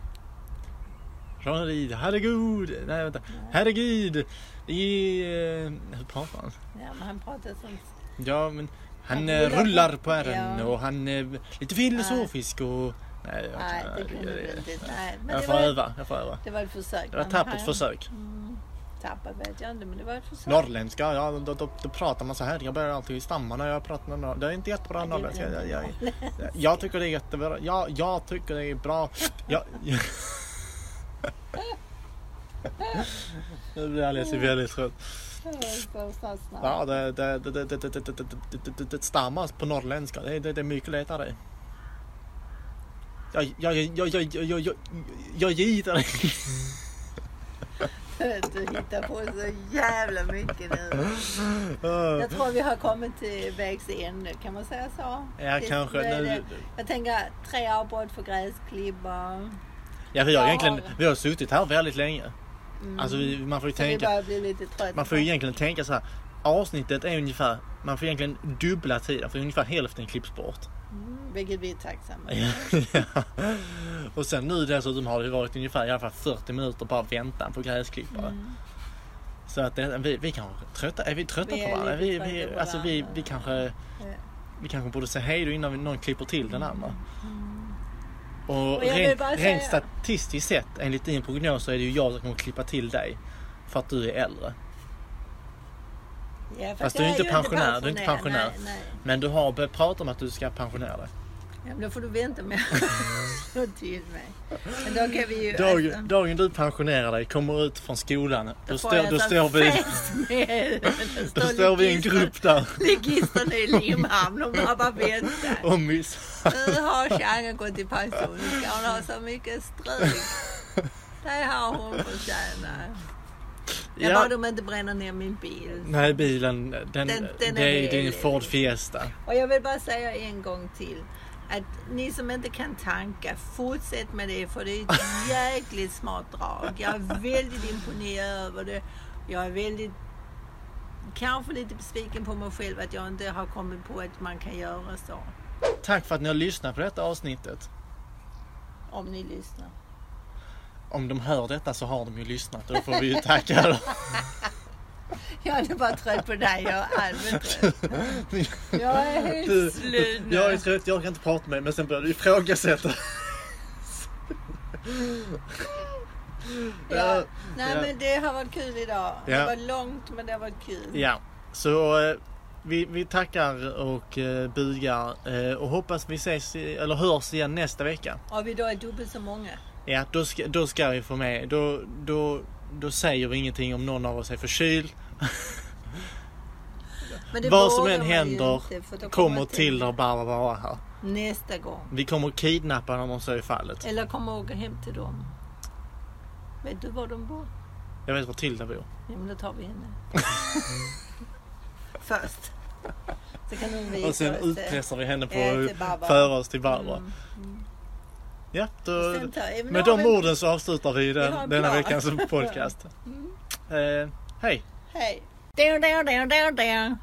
Rörid, herregud, nej vänta, herregud. I, eh, hur pratar han? Ja, men han pratar sånt. Ja, men han Han eh, rullar rullar på- på ärren ja. och han är lite filosofisk och... Nej, jag, Nej, det jag, kunde du jag, inte. Nej, men jag det får var, öva, jag får öva. det var ett försök. Det var ett men tappert han- försök. Tappert vet jag inte, men det var ett försök. Norrländska, ja då, då, då pratar man så här. Jag börjar alltid stamma när jag pratar med norrländska. Det är inte jättebra Nej, det är norrländska. Jag, jag, inte jag, jag tycker det är jättebra. Ja, jag tycker det är bra. Jag, jag... Nu blir jag alldeles väldigt trött. Det var ett försök snabbt. Ja, det, det, det, det, det, det, det, det, det, det, det, det stammas på norrländska. Det, det, det är mycket lättare. Jag, jag, jag, jag, jag, jag, jag, jag gillar det. Du hittar på så jävla mycket nu. Jag tror vi har kommit till vägs ände, kan man säga så? Ja, Det- kanske. det är Nu- det. Jag tänker tre avbrott för gräsklibbor. Ja, vi har Ja. Mm. egentligen, vi har suttit här väldigt länge. Alltså vi, man får ju Så vi tänka, börjar bli lite trötta. man får ju egentligen tänka så här. Avsnittet är ungefär, man får egentligen dubbla tiden för ungefär hälften klipps bort. Mm, Vilket vi är tacksamma för. Ja. och sen nu dessutom har det varit ungefär i alla fall 40 minuter bara väntan på gräsklippare. Mm. Så att det, vi, vi kanske är trötta, är vi trötta Vi är på varandra? lite Vi, trötta vi, på alltså vi, varandra. vi kanske vi kanske borde säga hej då innan vi- någon klipper till den andra. Och, Mm. Och jag vill rent, bara rent säga- statistiskt sett enligt din prognos så är det ju jag som kommer klippa till dig. För att du är äldre. Ja, fast Fast jag du är inte ju pensionär, du är inte pensionär. Nej, nej. Men du har börjat prata om att du ska pensionera dig. Ja, men då får du vänta med att slå till mig. Men då kan vi ju... Dag, dagen du pensionerar dig, kommer ut från skolan, då, står, alltså då, står, vi, då står vi i en grupp där Ligisterna i Limhamn, de har bara väntat. och missar. Nu har Jeanne gått i pension. Nu ska hon ha så mycket stryk. Det har hon förtjänat. Jag bara de inte bränner ner min bil. Nej, bilen, den, Den- den det är, är det är en helig. Ford Fiesta. Och jag vill bara säga en gång till. Att ni som inte kan tanka, fortsätt med det för det är ett jäkligt smart drag. Jag är väldigt imponerad över det. Jag är väldigt, kanske lite besviken på mig själv att jag inte har kommit på att man kan göra så. Tack för att ni har lyssnat på detta avsnittet. Om ni lyssnar. Om de hör detta så har de ju lyssnat och då får vi ju tacka dem. Jag är bara trött på dig, jag är allmänt trött. Jag är Du, helt slut nu. jag är trött, jag kan inte prata med dig, men sen börjar du ifrågasätta. Ja. Ja. Nej men det har varit kul idag. Ja. Det var långt men det har varit kul. Ja, så eh, vi, vi tackar och eh, bugar eh, och hoppas vi ses i- eller hörs igen nästa vecka. Och vi då är dubbelt så många. Ja, då ska, då ska vi få med. Då, då, då säger vi ingenting om någon av oss är förkyld. Men det Vad som vågar än man ju händer inte, för då Kommer till tänka där Barbara var här. Nästa gång. Vi kommer kidnappa dem om så är fallet. Eller kommer åka hem till dem. Vet du var de bor? Jag vet var Tilda bor. Ja men då tar vi henne. Först. Så kan hon visa Och sen oss det. utpressar vi henne på Ja, till att Barbara. Mm, föra oss till Barbara. Ja, Och då, sen tar- ja, men med då har de vi- orden så avslutar vi den, har en denna plan. Mm. veckans podcast. Eh, hej! Hej. Down, down, down, down, down.